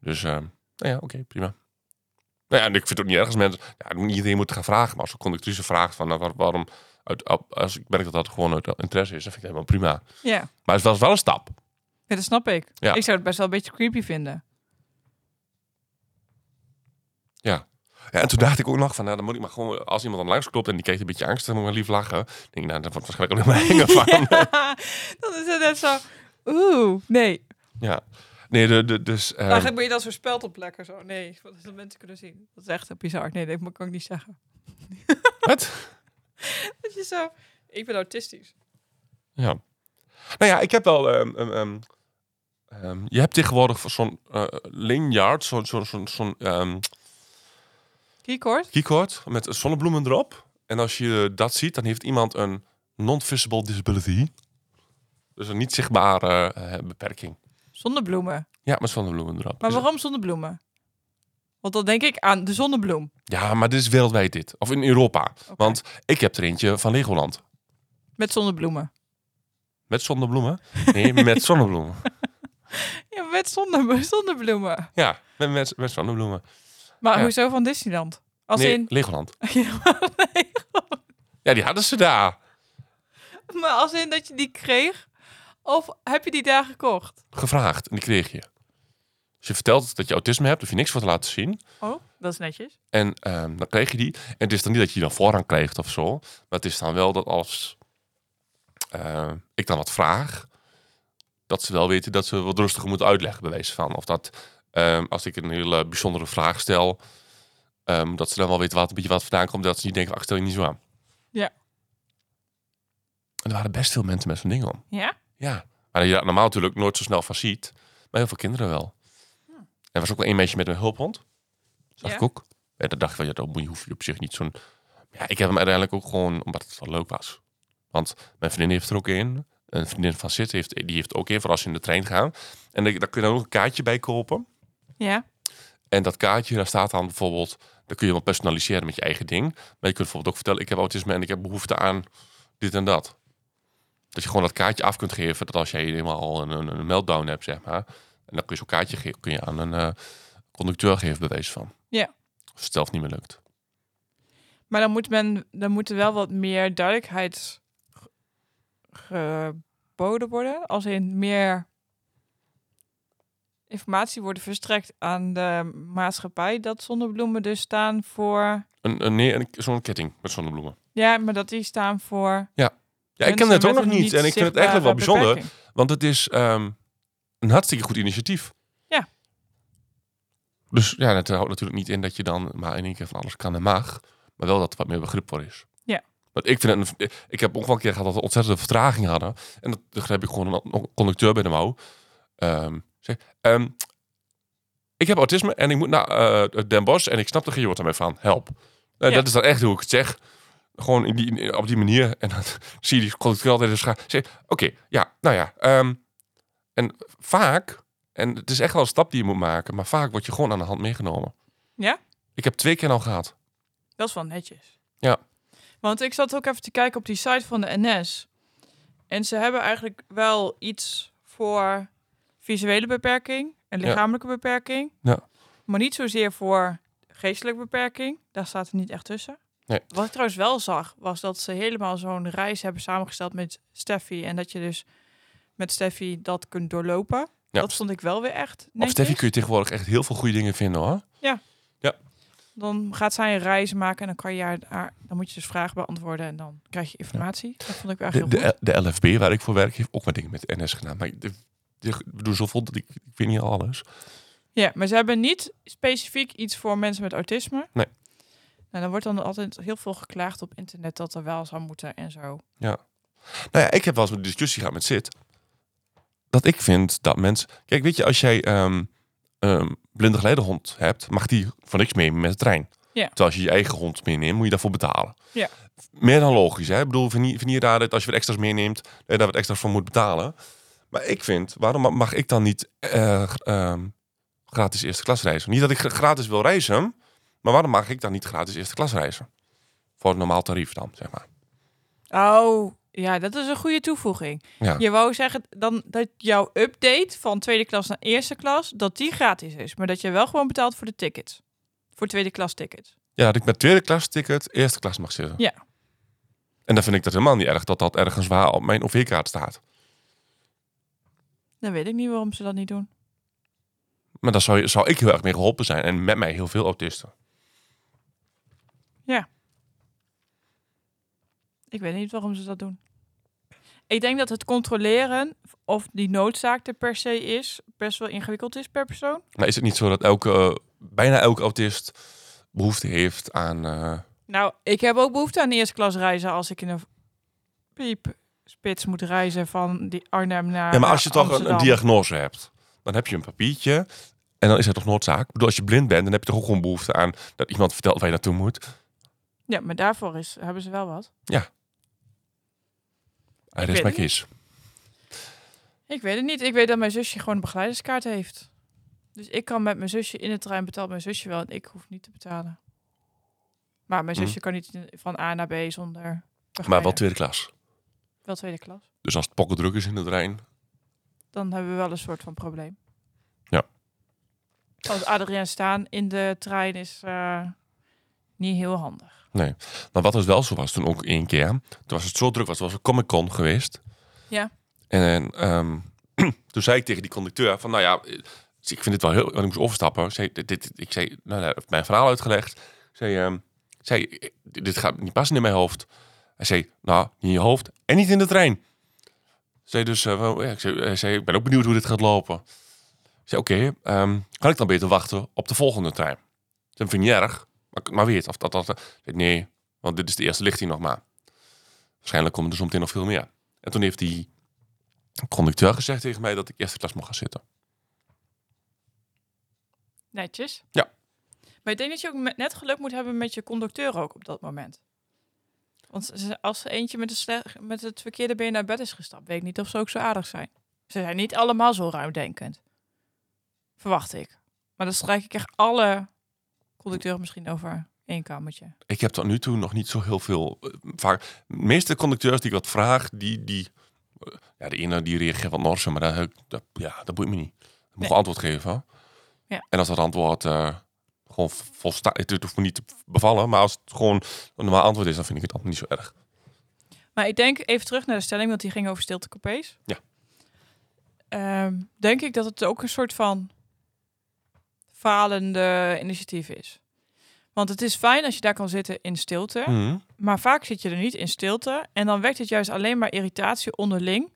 Dus, ehm, nou ja, oké, prima. Nou ja, en ik vind het ook niet ergens mensen, ja, niet iedereen moet het gaan vragen, maar als een conductrice vraagt van, nou, waar- waarom, uit, als ik merk dat dat gewoon uit eh, interesse is, dan vind ik het helemaal prima.
Ja.
Maar het was wel een stap.
Ja, dat snap ik.
Ja.
Ik zou het best wel een beetje creepy vinden.
Ja, en toen dacht ik ook nog van, nou, dan moet ik maar gewoon, als iemand dan langs klopt en die keek een beetje angstig, moet ik maar lief lachen. Dan denk ik, nou, dat wordt waarschijnlijk alleen maar hengen van. Ja.
dan is het net zo. Oeh, nee.
Ehm. Nee, de, de, dus... ehm,
Eigenlijk ben je dat zo speld op lekker zo. Nee, wat dat mensen kunnen zien. Dat is echt eh, bizar. Nee, dat kan ik niet zeggen.
wat?
Dat je zo. Ik ben autistisch.
Ja. Nou ja, ik heb wel... ehm, ehm, ehm, ehm, je hebt tegenwoordig voor zo'n eh lanyard, zo'n zo, zo, zo'n ehm,
Keycord?
keycord met zonnebloemen erop. En als je dat ziet, dan heeft iemand een non-visible disability. Dus een niet zichtbare eh, beperking.
Zonnebloemen.
Ja, met zonnebloemen erop. Dus-
Maar
Is-
waarom zonnebloemen? Want dan denk ik aan de zonnebloem.
Ja, maar dit is wereldwijd dit. Of in Europa.
Oké.
Want ik heb er eentje van Legoland.
Met zonnebloemen.
Met zonnebloemen? Nee, met zonnebloemen.
Ja, met zonne zonnebloemen.
Ja, met, met, met zonnebloemen.
Maar
Ja.
hoezo van Disneyland? Als
nee,
in...
Legoland.
Ja, maar nee,
Ja, die hadden ze daar.
maar als in dat je die kreeg? Of heb je die daar gekocht?
Gevraagd. En die kreeg je. Dus je vertelt dat je autisme hebt, of je niks voor te laten zien.
Oh, dat is netjes.
En ehm, dan kreeg je die. En het is dan niet dat je dan voorrang krijgt of zo. Maar het is dan wel dat als eh, ik dan wat vraag, dat ze wel weten dat ze wat rustiger moeten uitleggen, bij wijze van. Of dat ehm, als ik een hele bijzondere vraag stel, ehm, dat ze dan wel weten wat een beetje wat vandaan komt. Dat ze niet denken, ach, stel je niet zo aan.
Ja.
En er waren best veel mensen met zo'n ding om.
Ja?
Ja. Maar je daar normaal natuurlijk nooit zo snel van ziet. Maar heel veel kinderen wel. Er was ook wel een meisje met een hulphond. Zag
Ja.
ik ook. Ja, dat dacht ik wel, ja, dat moet je- hoef je op zich niet zo'n... Ja, ik heb hem uiteindelijk ook gewoon, omdat het wel leuk was. Want mijn vriendin heeft er ook een. Een vriendin van Zit heeft, die heeft ook een, voor als je in de trein gaat. En daar daar kun je dan ook een kaartje bij kopen.
Ja.
En dat kaartje, daar staat dan bijvoorbeeld... Dan kun je wel personaliseren met je eigen ding. Maar je kunt bijvoorbeeld ook vertellen, ik heb autisme en ik heb behoefte aan dit en dat. Dat je gewoon dat kaartje af kunt geven. Dat als jij helemaal een, een, een meltdown hebt, zeg maar. En dan kun je zo'n kaartje ge- kun je aan een eh, conducteur geven, bij wijze van.
Ja.
Als het zelf niet meer lukt.
Maar dan moet, men, dan moet er wel wat meer duidelijkheid ge- geboden worden. Als in meer informatie wordt verstrekt aan de maatschappij. Dat zonnebloemen dus staan voor...
Een, een, nee, een, zo'n ketting met zonnebloemen.
Ja, maar dat die staan voor...
Ja, ik ken
mensen
het ook
met
nog
een
niet. En ik vind het eigenlijk wel
zichtbare
bijzonder.
beperking.
Want het is ehm, een hartstikke goed initiatief.
Ja.
Dus ja, dat houdt natuurlijk niet in dat je dan maar in één keer van alles kan en mag. Maar wel dat er wat meer begrip voor is.
Ja.
Want ik vind het, een- ik heb ook wel een keer gehad dat we ontzettende vertraging hadden. En dat, daar heb ik gewoon een conducteur bij de mouw. Ehm, zeg, ehm, ik heb autisme en ik moet naar eh, Den Bosch en ik snap er geen woord mee van. Help. Nou,
Ja.
Dat is dan echt hoe ik het zeg. Gewoon in die, in- op die manier. En dan zie je die conducteur altijd in de scha- Zeg, oké, ja, nou ja. ehm, en vaak, en het is echt wel een stap die je moet maken, maar vaak word je gewoon aan de hand meegenomen.
Ja?
Ik heb twee keer al gehad.
Dat is wel netjes.
Ja.
Want ik zat ook even te kijken op die site van de NS. En ze hebben eigenlijk wel iets voor visuele beperking en
Ja.
lichamelijke beperking.
Ja.
Maar niet zozeer voor geestelijke beperking. Daar staat er niet echt tussen.
Nee.
Wat ik trouwens wel zag, was dat ze helemaal zo'n reis hebben samengesteld met Steffi. En dat je dus met Steffi dat kunt doorlopen.
Ja.
Dat vond ik wel weer echt
Op
netjes.
Steffi kun je tegenwoordig echt heel veel goede dingen vinden hoor.
Dan gaat zij een reis maken en dan kan je haar, haar- dan moet je dus vragen beantwoorden en dan krijg je informatie. Dat vond ik wel echt
De,
heel goed.
de, de LFB waar ik voor werk heeft ook wat dingen met NS gedaan. Maar ik, de- de- we doen zoveel dat ik, ik weet niet alles.
Ja, maar ze hebben niet specifiek iets voor mensen met autisme.
Nee.
Nou, dan wordt dan altijd heel veel geklaagd op internet dat er wel zou moeten en zo.
Nou ja, ik heb wel eens een discussie gehad met Sid. Dat ik vind dat mensen... Kijk, weet je, als jij ehm ehm blinde geleidehond hebt, mag die voor niks mee met de trein.
Ja.
Terwijl als je je eigen hond meeneemt, moet je daarvoor betalen.
Ja.
Meer dan logisch, hè? Ik bedoel, vind je, vind je daar dat als je wat extra's meeneemt, dat je daar wat extra's voor moet betalen? Maar ik vind, waarom mag ik dan niet eh, g- ehm, gratis eerste klas reizen? Niet dat ik gra- gratis wil reizen, maar waarom mag ik dan niet gratis eerste klas reizen? Voor het normaal tarief dan, zeg maar.
Oh, ja, dat is een goede toevoeging.
Ja.
Je wou zeggen dan dat jouw update van tweede klas naar eerste klas, dat die gratis is. Maar dat je wel gewoon betaalt voor de tickets. Voor tweede klas tickets.
Ja, dat ik met tweede klas ticket eerste klas mag zitten.
Ja.
En dan vind ik dat helemaal niet erg dat dat ergens waar op mijn OV-kaart staat.
Dan weet ik niet waarom ze dat niet doen.
Maar daar zou, je- zou ik heel erg mee geholpen zijn. En met mij heel veel autisten.
Ik weet niet waarom ze dat doen. Ik denk dat het controleren of die noodzaak er per se is, best wel ingewikkeld is per persoon.
Maar Nou is het niet zo dat elke, eh, bijna elke autist behoefte heeft aan... eh,
Nou, ik heb ook behoefte aan eerste klas reizen als ik in een piep spits moet reizen van die Arnhem naar
ja, maar als je
eh,
toch een- een,
Amsterdam.
diagnose hebt, dan heb je een papiertje en dan is het toch noodzaak. Ik bedoel, als je blind bent, dan heb je toch ook gewoon behoefte aan dat iemand vertelt waar je naartoe moet. Ah,
Ja, maar daarvoor is, hebben ze wel wat.
Er
weet
is mijn
het niet.
kies.
Ik weet het niet. Ik weet dat mijn zusje gewoon een begeleiderskaart heeft. Dus ik kan met mijn zusje in de trein betaalt mijn zusje wel en ik hoef niet te betalen. Maar mijn
Hm.
zusje kan niet in- van A naar B zonder
Maar wel
begeleider.
tweede klas.
wel tweede klas.
Dus als het pokkendruk is in de trein,
dan hebben we wel een soort van probleem.
Ja.
Als Adriaan staan in de trein is eh, niet heel handig.
Maar wat dus wel zo was toen ook één keer. Toen was het zo druk, was, was een Comic Con geweest.
Ja.
En ehm, toen zei ik tegen die conducteur van, nou ja, eh, ik vind dit wel heel... Want ik moest overstappen. Ik zei, dit, dit- ik zei, nou, hij heeft mijn verhaal uitgelegd. Ik zei, ehm, ik zei, eh, dit dit gaat niet passen in mijn hoofd. Hij zei, nou, niet in je hoofd en niet in de trein. Ik Zei dus, eh, wel, ja, ik, zei, hij zei, ik ben ook benieuwd hoe dit gaat lopen. Ik zei, oké, ehm, kan ik dan beter wachten op de volgende trein? Dat vind ik niet erg, maar, maar weet of dat... dat dat- Ik zei, nee, want dit is de eerste lichting nog maar. Waarschijnlijk komen er zometeen nog veel meer. En toen heeft die conducteur gezegd tegen mij dat ik eerste klas mocht gaan zitten.
Netjes.
Ja.
Maar ik denk dat je ook met- net geluk moet hebben met je conducteur ook op dat moment. Want ze- als er eentje met, een slecht, met het verkeerde been naar bed is gestapt, weet ik niet of ze ook zo aardig zijn. Ze zijn niet allemaal zo ruimdenkend. Verwacht ik. Maar dan strijk ik echt alle conducteuren misschien over één kamertje.
Ik heb tot nu toe nog niet zo heel veel. eh, vaak, de meeste conducteurs die ik wat vraag, die. die eh, ja, de ene die reageert wat norser, maar dat, dat, ja, dat boeit me niet. Ik moet
Nee.
gewoon antwoord geven.
Ja.
En als dat antwoord eh, gewoon volstaat. Het hoeft me niet te bevallen, maar als het gewoon een normaal antwoord is, dan vind ik het altijd niet zo erg.
Maar ik denk even terug naar de stelling, want die ging over stiltecoupés.
Ja.
Ehm, denk ik dat het ook een soort van falende initiatief is. Want het is fijn als je daar kan zitten in stilte.
Mhm.
Maar vaak zit je er niet in stilte. En dan wekt het juist alleen maar irritatie onderling.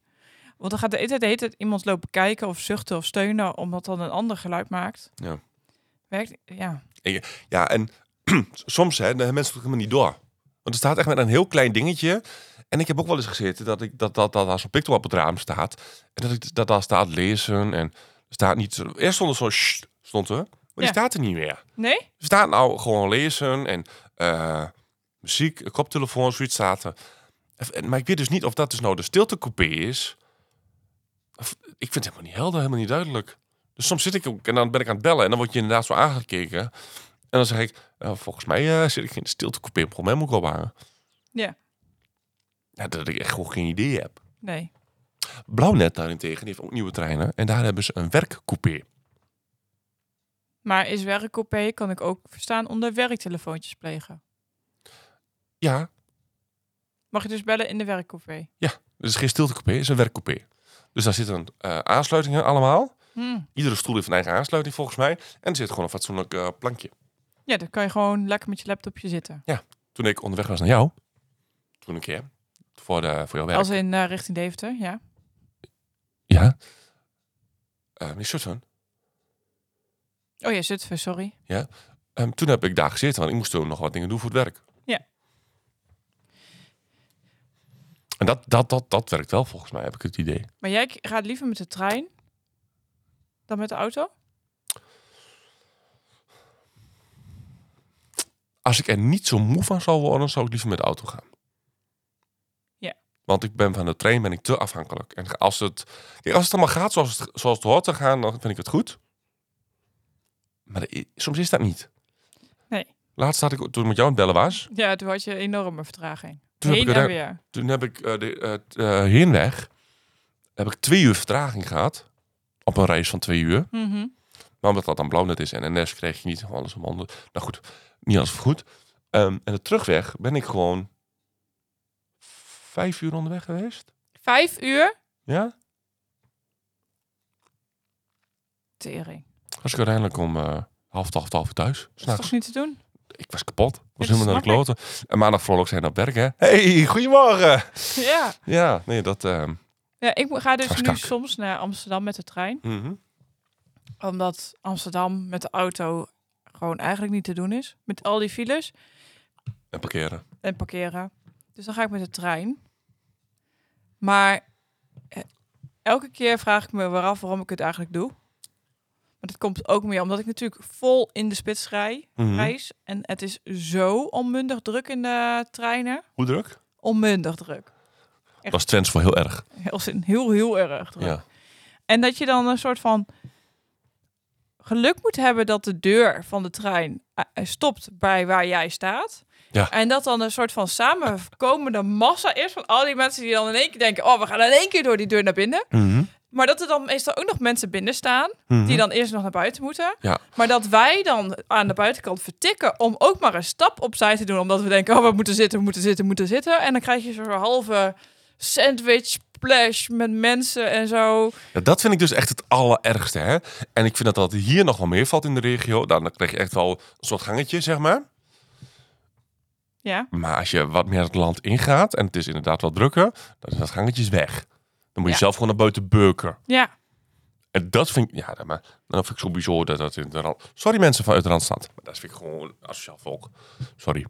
Want dan gaat de hele tijd, de hele tijd iemand lopen kijken of zuchten of steunen. Omdat dan een ander geluid maakt.
Ja.
Werkt, ja.
Ja, en soms hè, dan hebben mensen het helemaal niet door. Want er staat echt met een heel klein dingetje. En ik heb ook wel eens gezeten dat ik dat, dat, dat daar zo'n picto op het raam staat. En dat ik dat daar staat lezen. En er staat niet. zo- Eerst stond er zo'n sst, stond er. Maar die
Ja.
staat er niet meer.
Nee?
Er staat nou gewoon lezen en eh, muziek, een koptelefoon, zoiets staat er. En- Maar ik weet dus niet of dat dus nou de stiltecoupé is. Of- ik vind het helemaal niet helder, helemaal niet duidelijk. Dus soms zit ik ook en dan ben ik aan het bellen en dan word je inderdaad zo aangekeken. En dan zeg ik, eh, volgens mij eh, zit ik in de stiltecoupé, maar mij moet ik ophangen.
Ja.
ja. Dat ik echt gewoon geen idee heb.
Nee.
Blauwnet daarentegen, die heeft ook nieuwe treinen. En daar hebben ze een werkcoupé.
Maar is werkcoupé, kan ik ook verstaan onder werktelefoontjes plegen.
Ja,
Mag je dus bellen in de werkcoupé?
Dus geen stiltecoupé, het is een werkcoupé. Dus daar zitten eh, aansluitingen allemaal.
Hmm.
Iedere stoel heeft een eigen aansluiting volgens mij. En er zit gewoon een fatsoenlijk eh, plankje.
Ja, dan kan je gewoon lekker met je laptopje zitten.
Toen ik onderweg was naar jou, toen een keer, voor, de, voor jouw werk.
Als in eh, richting Deventer, ja.
Ja. Eh meneer Sutton,
Oh ja, Zutphen, sorry.
ehm, toen heb ik daar gezeten, want ik moest toen nog wat dingen doen voor het werk.
Ja.
En dat, dat, dat, dat werkt wel volgens mij, heb ik het idee.
Maar jij k- gaat liever met de trein dan met de auto?
als ik er niet zo moe van zou worden, zou ik liever met de auto gaan.
Ja.
Want ik ben van de trein ben ik te afhankelijk. En als het, kijk, als het allemaal gaat zoals het, zoals het hoort te gaan, dan vind ik het goed. Maar de- soms is dat niet.
Nee.
Laatst had ik, toen ik met jou aan het bellen was,
Ja, toen had je een enorme vertraging.
toen
Heen
heb ik,
en
er-
weer.
toen heb ik eh, de eh, t- eh, heenweg, heb ik twee uur vertraging gehad. Op een reis van twee uur.
Mhm.
Maar omdat dat dan blauwnet is en NS kreeg je niet alles om handen. Nou goed, niet alles goed. Ehm, en de terugweg ben ik gewoon vijf uur onderweg geweest.
Vijf uur?
Ja?
Tering.
Was ik uiteindelijk om eh, half twaalf, twaalf uur thuis.
Dat is
S'nachts.
toch niet te doen?
ik was kapot. Ik was
Ja, dat
helemaal naar de
snap
kloten. En maandag vrolijk zijn op werk, hè. hey, goedemorgen.
Ja.
Ja, nee, dat... ehm,
ja, ik mo- ga dus
was
nu
kak.
soms naar Amsterdam met de trein.
mhm.
Omdat Amsterdam met de auto gewoon eigenlijk niet te doen is. Met al die files
En parkeren.
en parkeren. Dus dan ga ik met de trein. Maar eh, elke keer vraag ik me waaraf waarom ik het eigenlijk doe. Maar dat komt ook meer omdat ik natuurlijk vol in de spits rij.
Mhm.
reis. En het is zo onmundig druk in de treinen.
Hoe druk?
Onmundig druk. Echt.
Was Twents voor heel erg.
Heel, zin- heel, heel erg druk.
Ja.
En dat je dan een soort van geluk moet hebben dat de deur van de trein eh, stopt bij waar jij staat.
Ja.
En dat dan een soort van samenkomende massa is van al die mensen die dan in één keer denken, oh, we gaan in één keer door die deur naar binnen.
Mhm.
Maar dat er dan meestal ook nog mensen binnen staan,
Mhm.
die dan eerst nog naar buiten moeten.
Ja.
Maar dat wij dan aan de buitenkant vertikken om ook maar een stap opzij te doen, omdat we denken, oh, we moeten zitten, we moeten zitten, we moeten zitten. En dan krijg je zo'n halve sandwich splash met mensen en zo.
Ja, dat vind ik dus echt het allerergste. Hè? En ik vind dat dat hier nog wel meer valt in de regio. Nou, dan krijg je echt wel een soort gangetje, zeg maar.
Ja.
Maar als je wat meer het land ingaat en het is inderdaad wat drukker, dan is dat gangetje is weg. Dan moet je zelf
Ja.
gewoon naar buiten beuken.
Ja.
En dat vind ik, ja, dat- maar dan vind ik zo bijzonder dat dat in de rand. Sorry mensen vanuit de Randstad, maar dat vind ik gewoon asociaal volk. Sorry.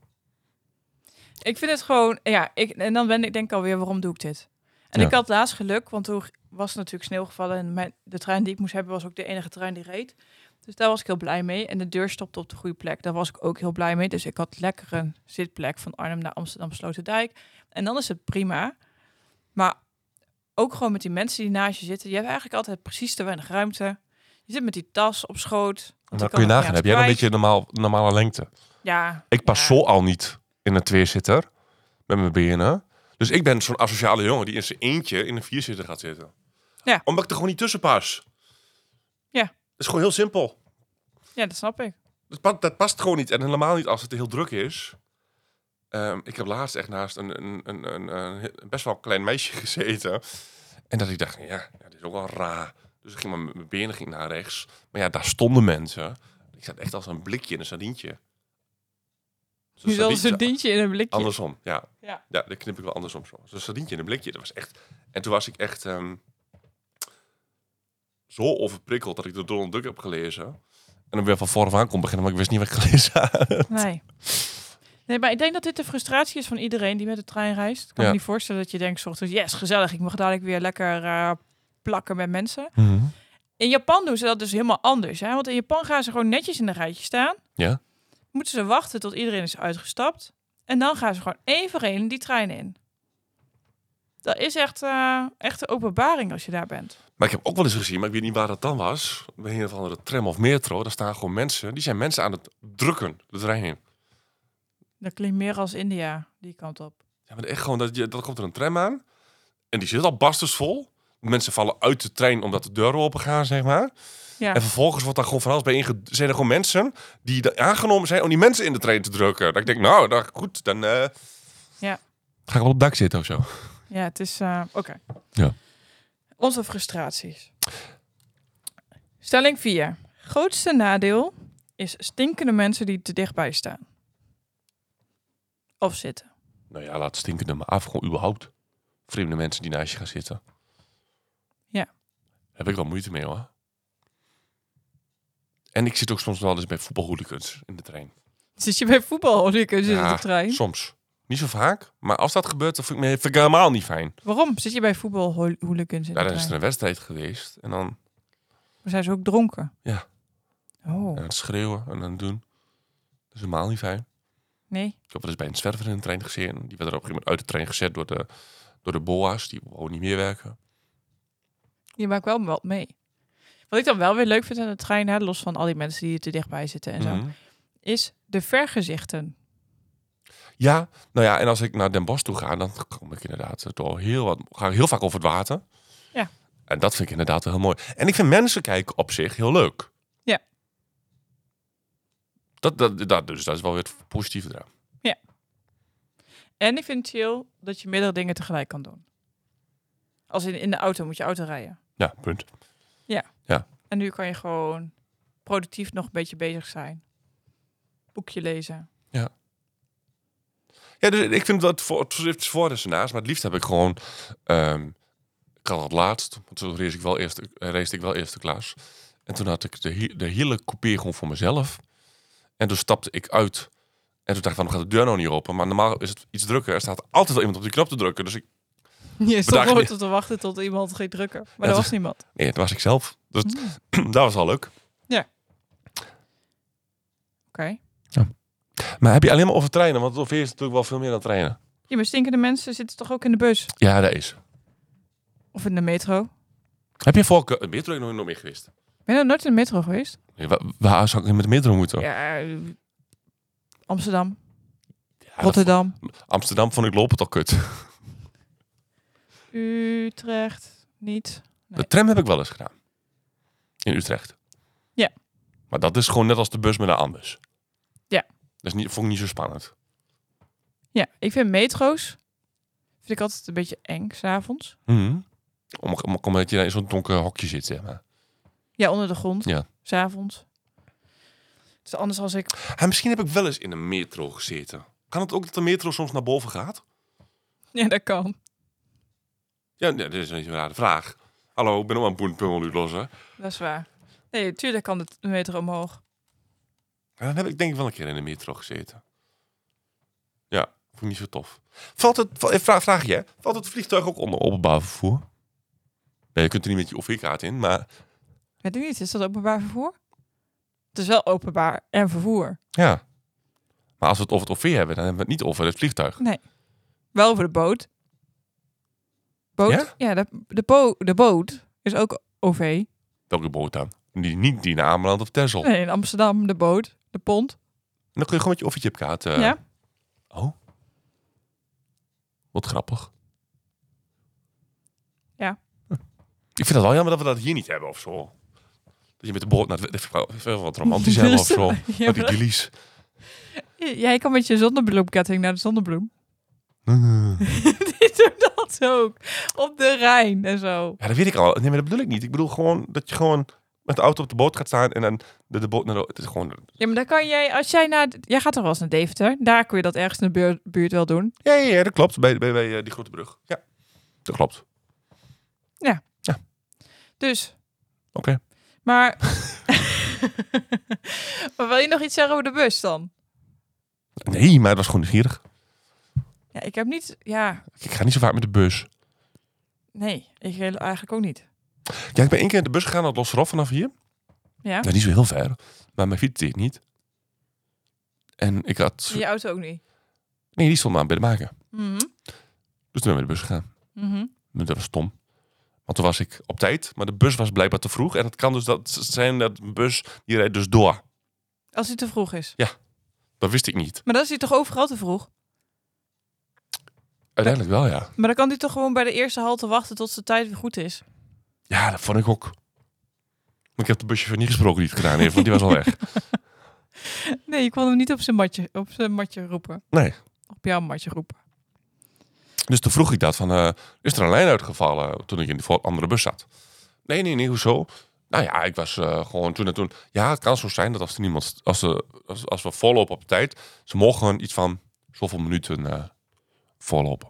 Ik vind het gewoon, ja, ik, en dan ben ik denk ik alweer, waarom doe ik dit? En
Ja.
ik had laatst geluk, want toen was er natuurlijk sneeuw gevallen en mijn, de trein die ik moest hebben was ook de enige trein die reed. Dus daar was ik heel blij mee. En de deur stopte op de goede plek. Daar was ik ook heel blij mee. Dus ik had lekker een zitplek van Arnhem naar Amsterdam Sloterdijk. En dan is het prima. Maar ook gewoon met die mensen die naast je zitten. Je hebt eigenlijk altijd precies te weinig ruimte. Je zit met die tas op schoot.
En
want
dan
die
kun je
kan ook
nagaan, heb jij
nergens
wel een
kwijt.
beetje normaal, normale lengte?
Ja.
Ik pas
ja.
zo al niet in een tweezitter met mijn benen. Dus ik ben zo'n asociale jongen die in zijn eentje in een vierzitter gaat zitten.
Ja.
Omdat ik er gewoon niet tussen pas.
Ja.
Dat is gewoon heel simpel.
Ja, dat snap ik.
Dat, pa- dat past gewoon niet. En helemaal niet als het heel druk is. Ehm, ik heb laatst echt naast een, een, een, een, een best wel klein meisje gezeten. En dat ik dacht, ja, ja, dit is ook wel raar. Dus ik ging maar met mijn benen ging naar rechts. Maar ja, daar stonden mensen. Ik zat echt als een blikje in een sardientje. Zo'n
Nu zal ze een dientje in een blikje.
Andersom, ja.
Ja.
ja. dat knip ik wel andersom soms. Dus een sardientje in een blikje, dat was echt... En toen was ik echt ehm, zo overprikkeld dat ik de Donald Duck heb gelezen. En dan weer van vooraf aan kon beginnen, maar ik wist niet wat ik gelezen had.
Nee. Nee, maar ik denk dat dit de frustratie is van iedereen die met de trein reist. Ik kan
Ja.
me niet voorstellen dat je denkt, 's ochtends, yes, gezellig, ik mag dadelijk weer lekker eh, plakken met mensen. In Japan doen ze dat dus helemaal anders. Hè? Want in Japan gaan ze gewoon netjes in een rijtje staan.
Ja.
Moeten ze wachten tot iedereen is uitgestapt. En dan gaan ze gewoon één voor één die trein in. Dat is echt, eh, echt een openbaring als je daar bent.
Maar ik heb ook wel eens gezien, maar ik weet niet waar dat dan was. Bij een of andere tram of metro, daar staan gewoon mensen. Die zijn mensen aan het drukken, de trein in.
Dat klinkt meer als India, die kant op.
Ja, maar echt gewoon, dat, je, dat komt er een tram aan. En die zit al basters vol. Mensen vallen uit de trein omdat de deuren open gaan, zeg maar.
Ja.
En vervolgens wordt daar gewoon van alles bij inge... Zijn er gewoon mensen die da- aangenomen zijn om die mensen in de trein te drukken. Dat ik denk, nou, dan, goed, dan... eh,
Ja.
Ga ik wel op het dak zitten of zo.
Ja, het is... eh, Oké.
Ja.
Onze frustraties. Stelling 4. Grootste nadeel is stinkende mensen die te dichtbij staan. Of zitten.
Nou ja, laat stinkende maar af. Gewoon überhaupt. Vreemde mensen die naast je gaan zitten.
Ja.
Heb ik wel moeite mee, hoor. En ik zit ook soms wel eens bij voetbalhooligans in de trein.
Zit je bij voetbal? Nu kun je zitten
Ja,
op de trein.
Soms. Niet zo vaak, maar als dat gebeurt, dan vind ik me vind ik helemaal niet fijn.
Waarom? Zit je bij voetbal hool- hooligans in
Ja, dan
de
is er
trein?
een wedstrijd geweest en dan
Maar zijn ze ook dronken?
Ja.
Oh,
aan het schreeuwen en aan het doen. Dat is helemaal niet fijn.
nee.
Ik heb wel eens bij een zwerver in de trein gezien. Die werd er op een gegeven moment uit de trein gezet door de, door de boa's. Die wou niet meer werken.
Je maakt wel wat mee. Wat ik dan wel weer leuk vind aan de trein, hè, los van al die mensen die er te dichtbij zitten en zo,
Mhm.
is de vergezichten.
Ja, nou ja, en als ik naar Den Bosch toe ga, dan kom ik inderdaad door heel wat, ga ik heel vaak over het water.
Ja.
En dat vind ik inderdaad wel heel mooi. En ik vind mensen kijken op zich heel leuk.
Ja.
Dat, dat, dat, dus dat is wel weer het positieve eraan.
En ik vind het chill dat je meerdere dingen tegelijk kan doen. Als in, in de auto moet je auto rijden.
Ja, punt.
En nu kan je gewoon productief nog een beetje bezig zijn. Boekje lezen.
Ja, dus ik vind dat voor, het heeft voor-resenaars, maar het liefst heb ik gewoon... ehm, ik had het laatst, want toen race ik wel eerste, eh, race ik wel eerste klas. En toen had ik de, he- de hele coupé gewoon voor mezelf. En toen stapte ik uit. En toen dacht ik, waarom gaat de deur nou niet open? Maar normaal is het iets drukker. Er staat altijd wel iemand op die knop te drukken. Dus ik,
Je stond
Bedankt.
nooit op te wachten tot iemand ging drukken. Maar
Ja,
er was
dat-
niemand.
nee, dat was ik zelf. Dus dat was al leuk.
Oké.
Maar heb je alleen maar over treinen? Want het OV is natuurlijk wel veel meer dan treinen.
Ja, maar stinkende mensen zitten toch ook in de bus?
Ja, dat is.
Of in de metro?
Heb je voorkeur... De metro heb ik nog nooit meer geweest.
Ben je nou nooit in de metro geweest?
Nee, wa- waar zou ik met de metro moeten?
Ja, eh, Amsterdam,
Ja, dat-
Rotterdam,
Amsterdam vond ik lopen toch kut.
Utrecht, niet. Nee.
De tram heb ik wel eens gedaan. In Utrecht.
Ja.
Maar dat is gewoon net als de bus met een ambus.
Ja.
Dat is niet, vond ik niet zo spannend.
Ja, ik vind metro's vind ik altijd een beetje eng, s'avonds.
Om, om, omdat je daar in zo'n donker hokje zit, zeg maar.
Ja, onder de grond,
Ja.
s'avonds. Dus anders als ik...
Ja, misschien heb ik wel eens in een metro gezeten. Kan het ook dat de metro soms naar boven gaat?
Ja, dat kan.
Ja, nee, dat is een rare vraag. Hallo, ik ben ook aan het boenpummel lossen.
Dat is waar. Nee, tuurlijk kan de de metro omhoog.
Ja, dan heb ik denk ik wel een keer in de metro gezeten. Ja, vond ik niet zo tof. Valt het, va- eh, vraag, vraag je, hè? valt het vliegtuig ook onder openbaar vervoer? Nee, je kunt er niet met je OV-kaart in, maar
Weet ik niet, is dat openbaar vervoer? Het is wel openbaar en vervoer.
ja. Maar als we het over het OV hebben, dan hebben we het niet over het vliegtuig.
Wel over de boot. Boot?
Ja?
de, de, bo- de boot is ook OV.
Welke boot dan? Die, niet die naar Ameland of Texel.
Nee, in Amsterdam de boot, de pont.
En dan kun je gewoon met je OV-chipkaart... eh,
Ja.
Oh. Wat grappig.
Ja.
Hm. Ik vind het wel jammer dat we dat hier niet hebben of zo. Dat je met de boot naar het... Dat is wel wat romantisch hebben of zo.
Ja,
Wat idyllisch.
Jij kan met je zonnebloemketting naar de zonnebloem. Die doen dat ook. Op de Rijn en zo.
Ja, dat weet ik al. Nee, maar dat bedoel ik niet. Ik bedoel gewoon dat je gewoon met de auto op de boot gaat staan en dan de, de boot naar de... Het is gewoon...
Ja, maar dan kan jij, als jij naar, jij gaat toch wel eens naar Deventer? Daar kun je dat ergens in de buurt, buurt wel doen.
Ja, ja, ja, dat klopt. Bij, bij, bij eh, die grote brug. Ja, dat klopt. Oké.
Dus, maar. maar wil je nog iets zeggen over de bus dan?
Nee, maar het was gewoon nieuwsgierig.
Ja, ik heb niet, ja,
Ik ga niet zo vaak met de bus.
nee, ik wil eigenlijk ook niet.
Ja, ik ben één keer met de bus gegaan naar het Losserhof vanaf hier.
Ja,
Dat is niet zo heel ver. Maar mijn fiets deed niet. En ik had...
je auto ook niet.
Nee, die stond maar bij de maken.
Mhm.
Dus toen ben ik met de bus gegaan.
Mhm.
Maar Dat was stom. Want toen was ik op tijd, maar de bus was blijkbaar te vroeg. En het kan dus dat zijn dat een bus, die rijdt dus door.
Als hij te vroeg is.
Dat wist ik niet.
Maar dan is hij toch overal te vroeg?
Uiteindelijk wel, ja.
Maar dan kan hij toch gewoon bij de eerste halte wachten tot zijn tijd weer goed is?
Ja, dat vond ik ook. Maar ik heb de busje van niet gesproken die het gedaan heeft, want die was al weg.
Nee, je kon hem niet op zijn matje, op zijn matje roepen.
Nee.
Op jouw matje roepen.
Dus toen vroeg ik dat van, eh, is er een lijn uitgevallen toen ik in die voor- andere bus zat? Nee, nee, nee, hoezo? Nou ja, ik was eh, gewoon toen en toen. Ja, het kan zo zijn dat als er niemand, als, ze- als, als we voorlopen op tijd, ze mogen iets van zoveel minuten eh, voorlopen.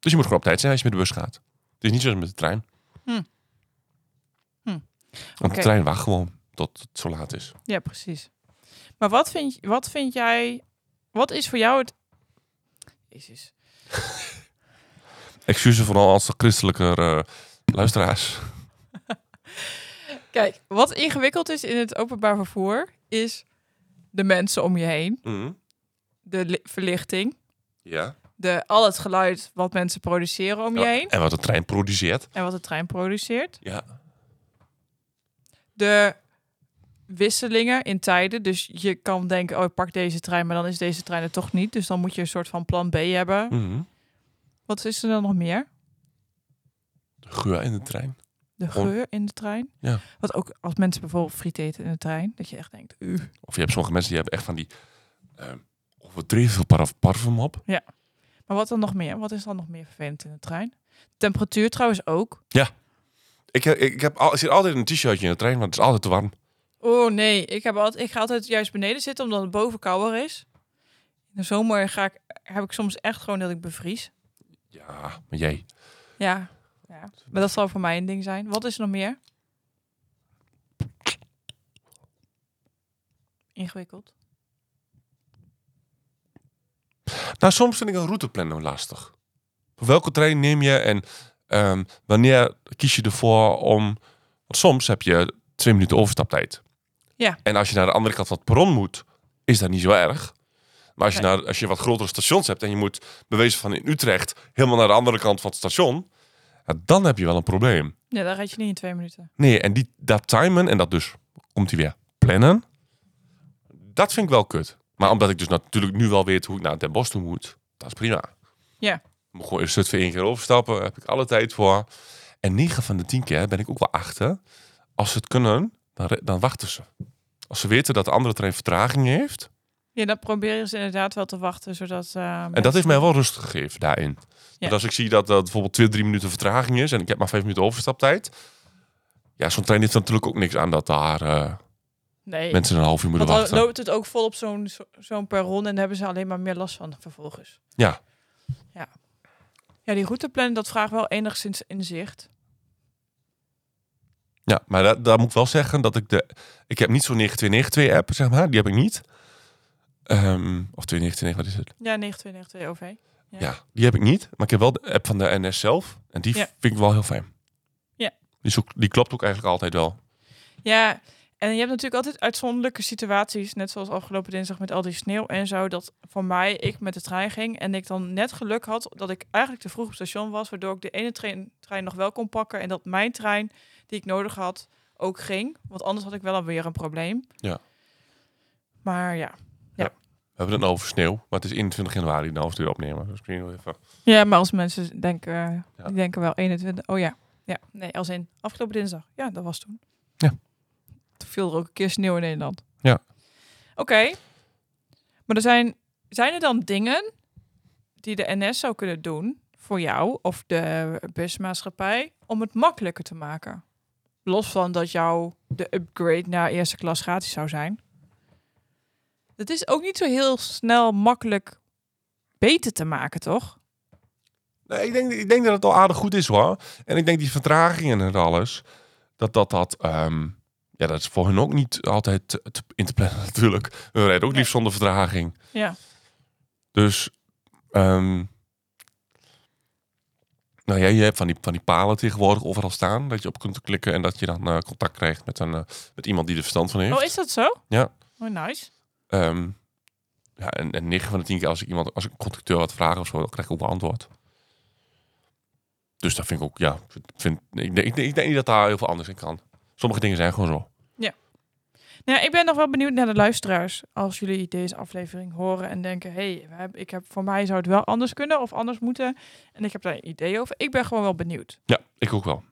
Dus je moet gewoon op tijd zijn als je met de bus gaat. Het is niet zoals met de trein.
Hm. Hm.
Want
Oké.
de trein wacht gewoon tot het zo laat is.
Ja, precies. Maar wat vind, wat vind jij... Wat is voor jou het... Jezus.
Excuses vooral als de christelijke eh, luisteraars.
Kijk, wat ingewikkeld is in het openbaar vervoer... is de mensen om je heen. De li- verlichting.
Mhm. Ja.
De, al het geluid wat mensen produceren om je heen.
En wat de trein produceert.
En wat de trein produceert.
Ja.
de wisselingen in tijden. Dus je kan denken, oh, ik pak deze trein, maar dan is deze trein er toch niet. Dus dan moet je een soort van plan B hebben.
Mhm.
Wat is er dan nog meer?
De geur in de trein.
De
Gewoon-
geur in de trein.
Ja.
Wat ook als mensen bijvoorbeeld friet eten in de trein, dat je echt denkt, uh.
Of je hebt sommige mensen die hebben echt van die ehm overdreven veel paraf parfum op.
Maar wat dan nog meer? Wat is dan nog meer vervelend in de trein? Temperatuur trouwens ook.
Ik, heb- ik, heb al, ik zit altijd in een t-shirtje in de trein, want het is altijd te warm.
Oh nee, ik, heb altijd, ik ga altijd juist beneden zitten omdat het boven kouder is. de zomer ga ik, heb ik soms echt gewoon dat ik bevries.
Ja, maar jij.
Ja. ja. Maar dat zal voor mij een ding zijn. Wat is er nog meer? Ingewikkeld.
Nou, soms vind ik een routeplanner lastig. Welke trein neem je en ehm, wanneer kies je ervoor om... Want soms heb je twee minuten overstaptijd.
Ja.
En als je naar de andere kant van het perron moet, is dat niet zo erg. Maar als je,
Nee.
naar, als je wat grotere stations hebt en je moet bewezen van in Utrecht helemaal naar de andere kant van het station, ja, dan heb je wel een probleem.
Ja, daar red je niet in twee minuten.
Nee, en die, dat timen en dat dus, komt hij weer, plannen. Dat vind ik wel kut. Maar omdat ik dus natuurlijk nu wel weet hoe ik naar Den Bosch toe moet, dat is prima.
Ja.
Ik moet gewoon een stuk voor één keer overstappen, daar heb ik alle tijd voor. En 9 van de 10 keer ben ik ook wel achter. Als ze het kunnen, dan, re- dan wachten ze. Als ze weten dat de andere trein vertraging heeft.
Ja, dan proberen ze dus inderdaad wel te wachten, zodat... eh,
En dat heeft mij wel rust gegeven daarin.
Ja.
Want als ik zie dat dat bijvoorbeeld twee, drie minuten vertraging is en ik heb maar vijf minuten overstaptijd. Ja, zo'n trein heeft natuurlijk ook niks aan dat daar eh,
Nee,
mensen een half uur
want
moeten
dan
wachten.
loopt het ook vol op zo'n zo- zo'n perron en daar hebben ze alleen maar meer last van vervolgens.
Ja.
Ja, ja die routeplanning, dat vraagt wel enigszins inzicht.
Ja, maar daar, daar moet ik wel zeggen dat ik de... Ik heb niet zo'n 9292 app, zeg maar. Die heb ik niet. Ehm, of 2992, wat is het?
Ja, 9292 OV. Ja.
Ja. die heb ik niet. Maar ik heb wel de app van de NS zelf. En die
Ja.
vind ik wel heel fijn.
Ja.
Die, is ook- die klopt ook eigenlijk altijd wel.
Ja, en je hebt natuurlijk altijd uitzonderlijke situaties, net zoals afgelopen dinsdag met al die sneeuw en zo, dat voor mij, ik met de trein ging en ik dan net geluk had dat ik eigenlijk te vroeg op station was, waardoor ik de ene trein, trein nog wel kon pakken en dat mijn trein die ik nodig had ook ging, want anders had ik wel alweer een probleem.
Ja.
Maar ja.
We hebben het nou over sneeuw. Maar het is 21 januari, nou als we dit opnemen. Dus misschien nog even...
Ja, maar als mensen denken,
Ja.
die denken wel 21, oh ja. Ja, nee, als in afgelopen dinsdag. Ja, dat was toen.
Ja.
Toen viel er ook een keer sneeuw in Nederland.
Ja.
Oké. Maar er zijn, zijn er dan dingen die de NS zou kunnen doen voor jou of de busmaatschappij om het makkelijker te maken? Los van dat jou de upgrade naar eerste klas gratis zou zijn. Dat is ook niet zo heel snel makkelijk beter te maken, toch?
Nee, ik denk, ik denk dat het al aardig goed is hoor. En ik denk die vertragingen en alles, dat dat dat. ehm, ja, dat is voor hun ook niet altijd te- te- in te plannen natuurlijk. Hun rijden ook
Nee.
liefst zonder vertraging.
Ja.
Dus. ehm, nou ja, je hebt van die, van die palen tegenwoordig overal staan. Dat je op kunt klikken en dat je dan eh, contact krijgt met, een, eh, met iemand die er verstand van heeft.
Oh, is dat zo?
Ja.
Oh, nice.
Ehm, ja, en, en 9 van de 10 keer als ik iemand, als ik een conducteur wat vraag of zo, dan krijg ik ook een antwoord. Dus dat vind ik ook, ja, vind, ik, denk- ik, denk- ik denk niet dat daar heel veel anders in kan. Sommige dingen zijn gewoon zo.
Nou, ja, ik ben nog wel benieuwd naar de luisteraars. Als jullie deze aflevering horen en denken... hé, hey, ik heb voor mij zou het wel anders kunnen of anders moeten. En ik heb daar een idee over. Ik ben gewoon wel benieuwd.
Ja, ik ook wel.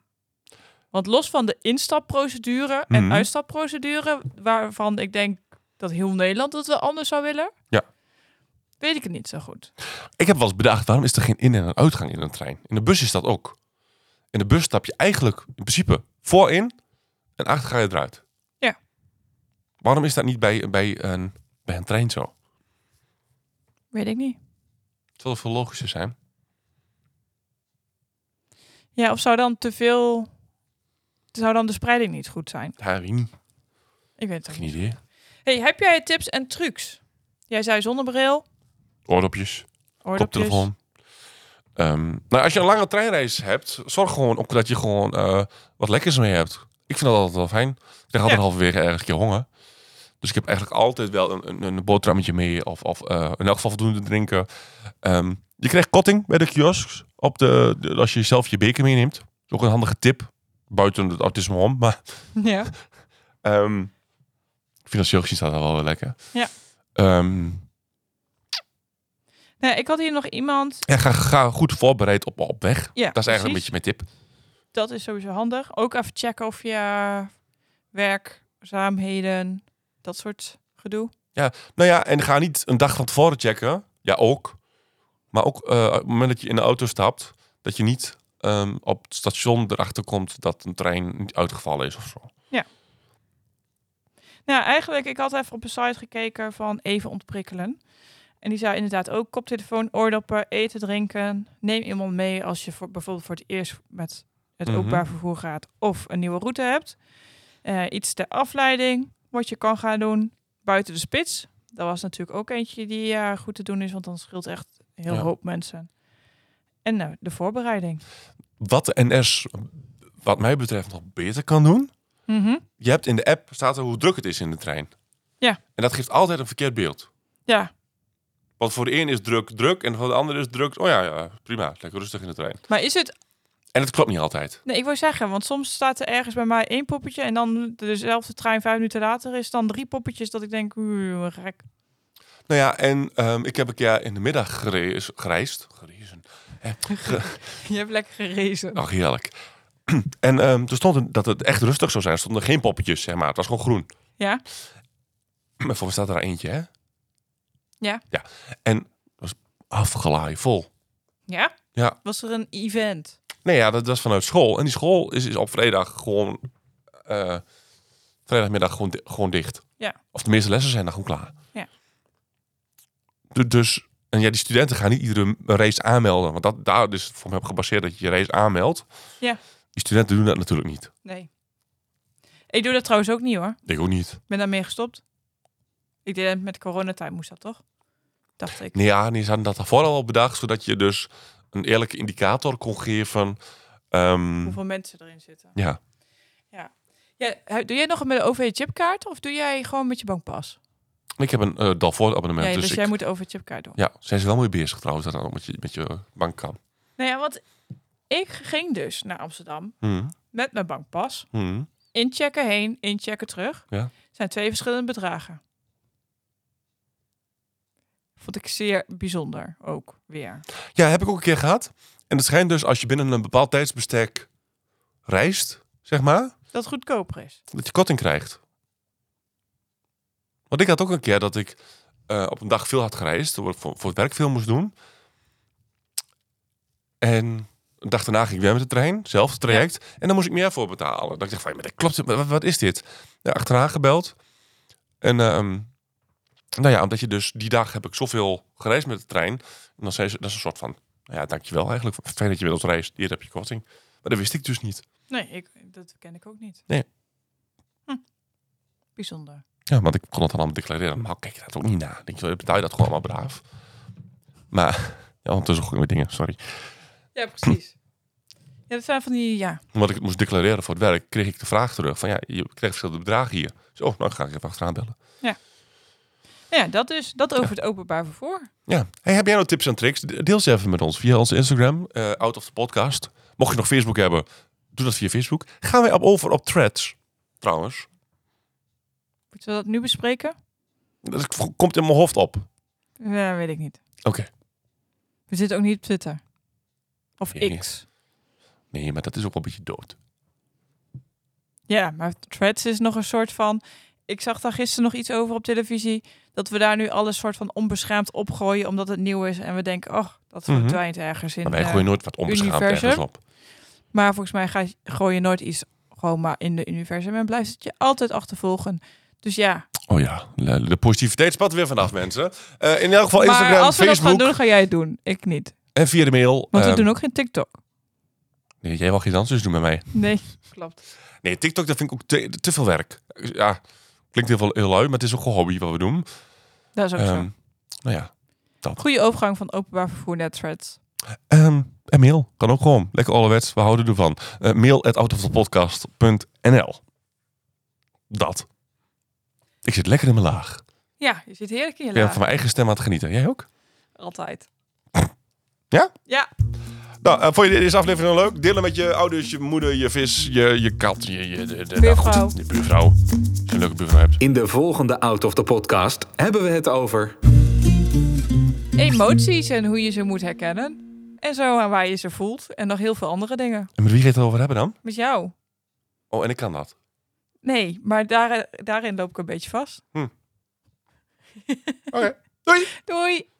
Want los van de instapprocedure en
Mhm.
uitstapprocedure... waarvan ik denk dat heel Nederland het wel anders zou willen...
Ja.
weet ik het niet zo goed.
Ik heb wel eens bedacht, waarom is er geen in- en een uitgang in een trein? In de bus is dat ook. In de bus stap je eigenlijk in principe voorin en achter ga je eruit.
Ja.
Waarom is dat niet bij, bij, een, bij een trein zo?
Weet ik niet.
Het zal veel logischer zijn.
Ja, of zou dan te veel... Zou dan de spreiding niet goed zijn?
Ja, weet ik niet.
Ik weet het ook
Geen
niet.
idee.
Hey, heb jij tips en trucs? Jij zei zonnebril,
Oordopjes.
oordopjes.
koptelefoon. Ehm, nou, als je een lange treinreis hebt, zorg gewoon ook dat je gewoon eh, wat lekkers mee hebt. Ik vind dat altijd wel fijn. Ik krijg altijd
Ja.
halverwege ergens een keer honger. Dus ik heb eigenlijk altijd wel een, een, een boterhammetje mee. Of, of eh, in elk geval voldoende drinken. Ehm, je krijgt korting bij de kiosks. Op de, de- als je zelf je beker meeneemt. Dat is ook een handige tip. Buiten het autisme om. Maar
Ja.
Ehm financieel gezien staat dat wel weer lekker.
Ja.
Ehm,
Nee, ik had hier nog iemand.
ja, ga, ga goed voorbereid op, op weg.
Ja,
Dat is eigenlijk
precies.
een beetje mijn tip.
Dat is sowieso handig. Ook even checken of je werkzaamheden, dat soort gedoe.
Nou ja, en ga niet een dag van tevoren checken. Ja, ook. Maar ook eh, op het moment dat je in de auto stapt, dat je niet ehm, op het station erachter komt dat een trein niet uitgevallen is of zo.
Nou, eigenlijk, ik had even op een site gekeken van even ontprikkelen. En die zei inderdaad ook koptelefoon, oordoppen, eten, drinken. Neem iemand mee als je voor, bijvoorbeeld voor het eerst met het
Mhm.
openbaar vervoer gaat of een nieuwe route hebt. Eh, iets ter afleiding, wat je kan gaan doen buiten de spits. Dat was natuurlijk ook eentje die eh, goed te doen is, want dan scheelt echt een heel
Ja.
hoop mensen. En nou, de voorbereiding.
Wat de NS, wat mij betreft, nog beter kan doen.
Mhm.
Je hebt in de app, staat er hoe druk het is in de trein.
Ja.
En dat geeft altijd een verkeerd beeld.
Ja,
Want voor de een is druk druk en voor de ander is druk... Oh ja, ja prima, lekker rustig in de trein.
maar is het
En het klopt niet altijd.
Nee, ik wil zeggen, want soms staat er ergens bij mij één poppetje en dan dezelfde trein vijf minuten later is dan drie poppetjes dat ik denk, oeh, wat gek.
Nou ja, en ehm, ik heb een keer in de middag gereis, gereisd. Gerezen.
Je hebt lekker gerezen.
Ach, heerlijk. En ehm er stond een- dat het echt rustig zou zijn. Er stonden geen poppetjes, zeg maar. Het was gewoon groen.
Ja?
Maar voor mij staat er daar eentje, hè?
Ja.
Ja. En dat was afgelaai vol.
Ja?
Ja.
Was er een event?
Nee, ja, dat was vanuit school. En die school is, is op vrijdag gewoon... eh, vrijdagmiddag gewoon, di- gewoon dicht.
Ja.
Of de meeste lessen zijn dan gewoon klaar.
Ja.
Du- Dus... En ja, die studenten gaan niet iedere race aanmelden. Want dat, daar is het voor mij op gebaseerd dat je je race aanmeldt.
Ja.
Die studenten doen dat natuurlijk niet.
Nee. Ik doe dat trouwens ook niet hoor.
Ik ook niet.
Ik ben daarmee gestopt. Ik deed het met coronatijd, moest dat toch? Dacht ik.
Nee, ja, nee, ze hadden dat daarvoor al bedacht, zodat je dus een eerlijke indicator kon geven. ehm,
Hoeveel mensen erin zitten.
ja.
Ja, hu- doe jij nog met een OV-chipkaart of doe jij gewoon met je bankpas?
Ik heb een eh Dalvoort abonnement,
Nee,
dus,
dus, jij
ik-
moet de OV-chipkaart doen.
ja, zijn ze wel mooi bezig trouwens, dat dan ook met je, met je bank kan.
Nou ja, want ik ging dus naar Amsterdam
Hmm,
met mijn bankpas.
hmm.
inchecken heen, inchecken terug.
Ja.
Zijn twee verschillende bedragen. Vond ik zeer bijzonder ook weer.
Ja, heb ik ook een keer gehad. En het schijnt dus, als je binnen een bepaald tijdsbestek reist, zeg maar,
Dat het goedkoper is.
dat je korting krijgt. Want ik had ook een keer dat ik eh, op een dag veel had gereisd, voor, voor voor het werk veel moest doen. En een dag daarna ging ik weer met de trein, zelfde traject. En dan moest ik meer voor betalen. Dat ik dacht van, ja, maar dat klopt, maar wat, wat is dit? Ja, achterna gebeld. En ehm, nou ja, omdat je dus die dag heb ik zoveel gereisd met de trein. En dan zei ze, dat is een soort van, nou ja, dankjewel eigenlijk. Fijn dat je met ons reist, hier heb je korting. Maar dat wist ik dus niet.
Nee, ik, dat ken ik ook niet.
Nee.
Hm. Bijzonder.
Ja, want ik kon het dan allemaal declareren. Maar kijk je dat ook niet na. Denk je, wel, betaal je dat gewoon allemaal braaf. Maar, ja, ondertussen gooi ik weer dingen, sorry.
Ja, precies. Ja, dat zijn van die, ja.
Omdat ik het moest declareren voor het werk, kreeg ik de vraag terug. Van ja, je krijgt verschillende bedragen hier. Zo, nou ga ik even achteraan bellen.
Ja, dat is, dat over het openbaar vervoor.
Ja. Hey, heb jij nou tips en tricks? Deel ze even met ons via onze Instagram, eh Out of the Podcast. Mocht je nog Facebook hebben, doe dat via Facebook. Gaan wij op over op threads, trouwens.
Moeten we dat nu bespreken?
Dat v- komt in mijn hoofd op.
Ja, weet ik niet.
Oké.
We zitten ook niet op Twitter. Of
Nee.
X.
Nee, maar dat is ook wel een beetje dood.
Ja, maar Threads is nog een soort van. Ik zag daar gisteren nog iets over op televisie. Dat we daar nu alles soort van onbeschaamd opgooien. omdat het nieuw is. En we denken, oh, dat
Mhm.
verdwijnt ergens in.
Maar wij
eh,
gooien nooit wat onbeschaamd
universum?
ergens op.
maar volgens mij ga, gooi je nooit iets gewoon maar in de universum. En blijft het je altijd achtervolgen. Dus ja,
Oh ja, de de positiviteit spat er weer vanaf, mensen. Eh, in elk geval
maar
Instagram,
als we dat
Facebook
gaan doen, ga jij het doen. Ik niet.
en via de mail.
Want we
Eh,
doen ook geen TikTok.
nee, jij mag geen dansjes doen met mij.
Nee, klopt.
Nee, TikTok, dat vind ik ook te, te veel werk. Ja, klinkt heel, veel- heel lui, maar het is ook een hobby wat we doen.
Dat is ook
Ehm,
zo.
nou ja.
Goede overgang van openbaar vervoer naar Threads.
Ehm, en mail, kan ook gewoon. Lekker ouderwets, we houden ervan. Eh mail at outofthepodcast.nl Dat. Ik zit lekker in mijn laag.
Ja, je zit heerlijk in je
Ik ben
laag.
van mijn eigen stem aan het genieten. Jij ook?
Altijd.
Ja?
Ja.
Nou, eh, vond je deze aflevering dan leuk? Delen met je ouders, je moeder, je vis, je, je kat, je, je de, de, nou goed,
Buurvrouw.
je buurvrouw. Als je een leuke buurvrouw hebt.
In de volgende Out of the Podcast hebben we het over
emoties en hoe je ze moet herkennen. En zo aan waar je ze voelt. En nog heel veel andere dingen.
En met wie ga je het over hebben dan?
Met jou.
Oh, en ik kan dat.
Nee, maar daar, daarin loop ik een beetje vast.
Doei!
Doei!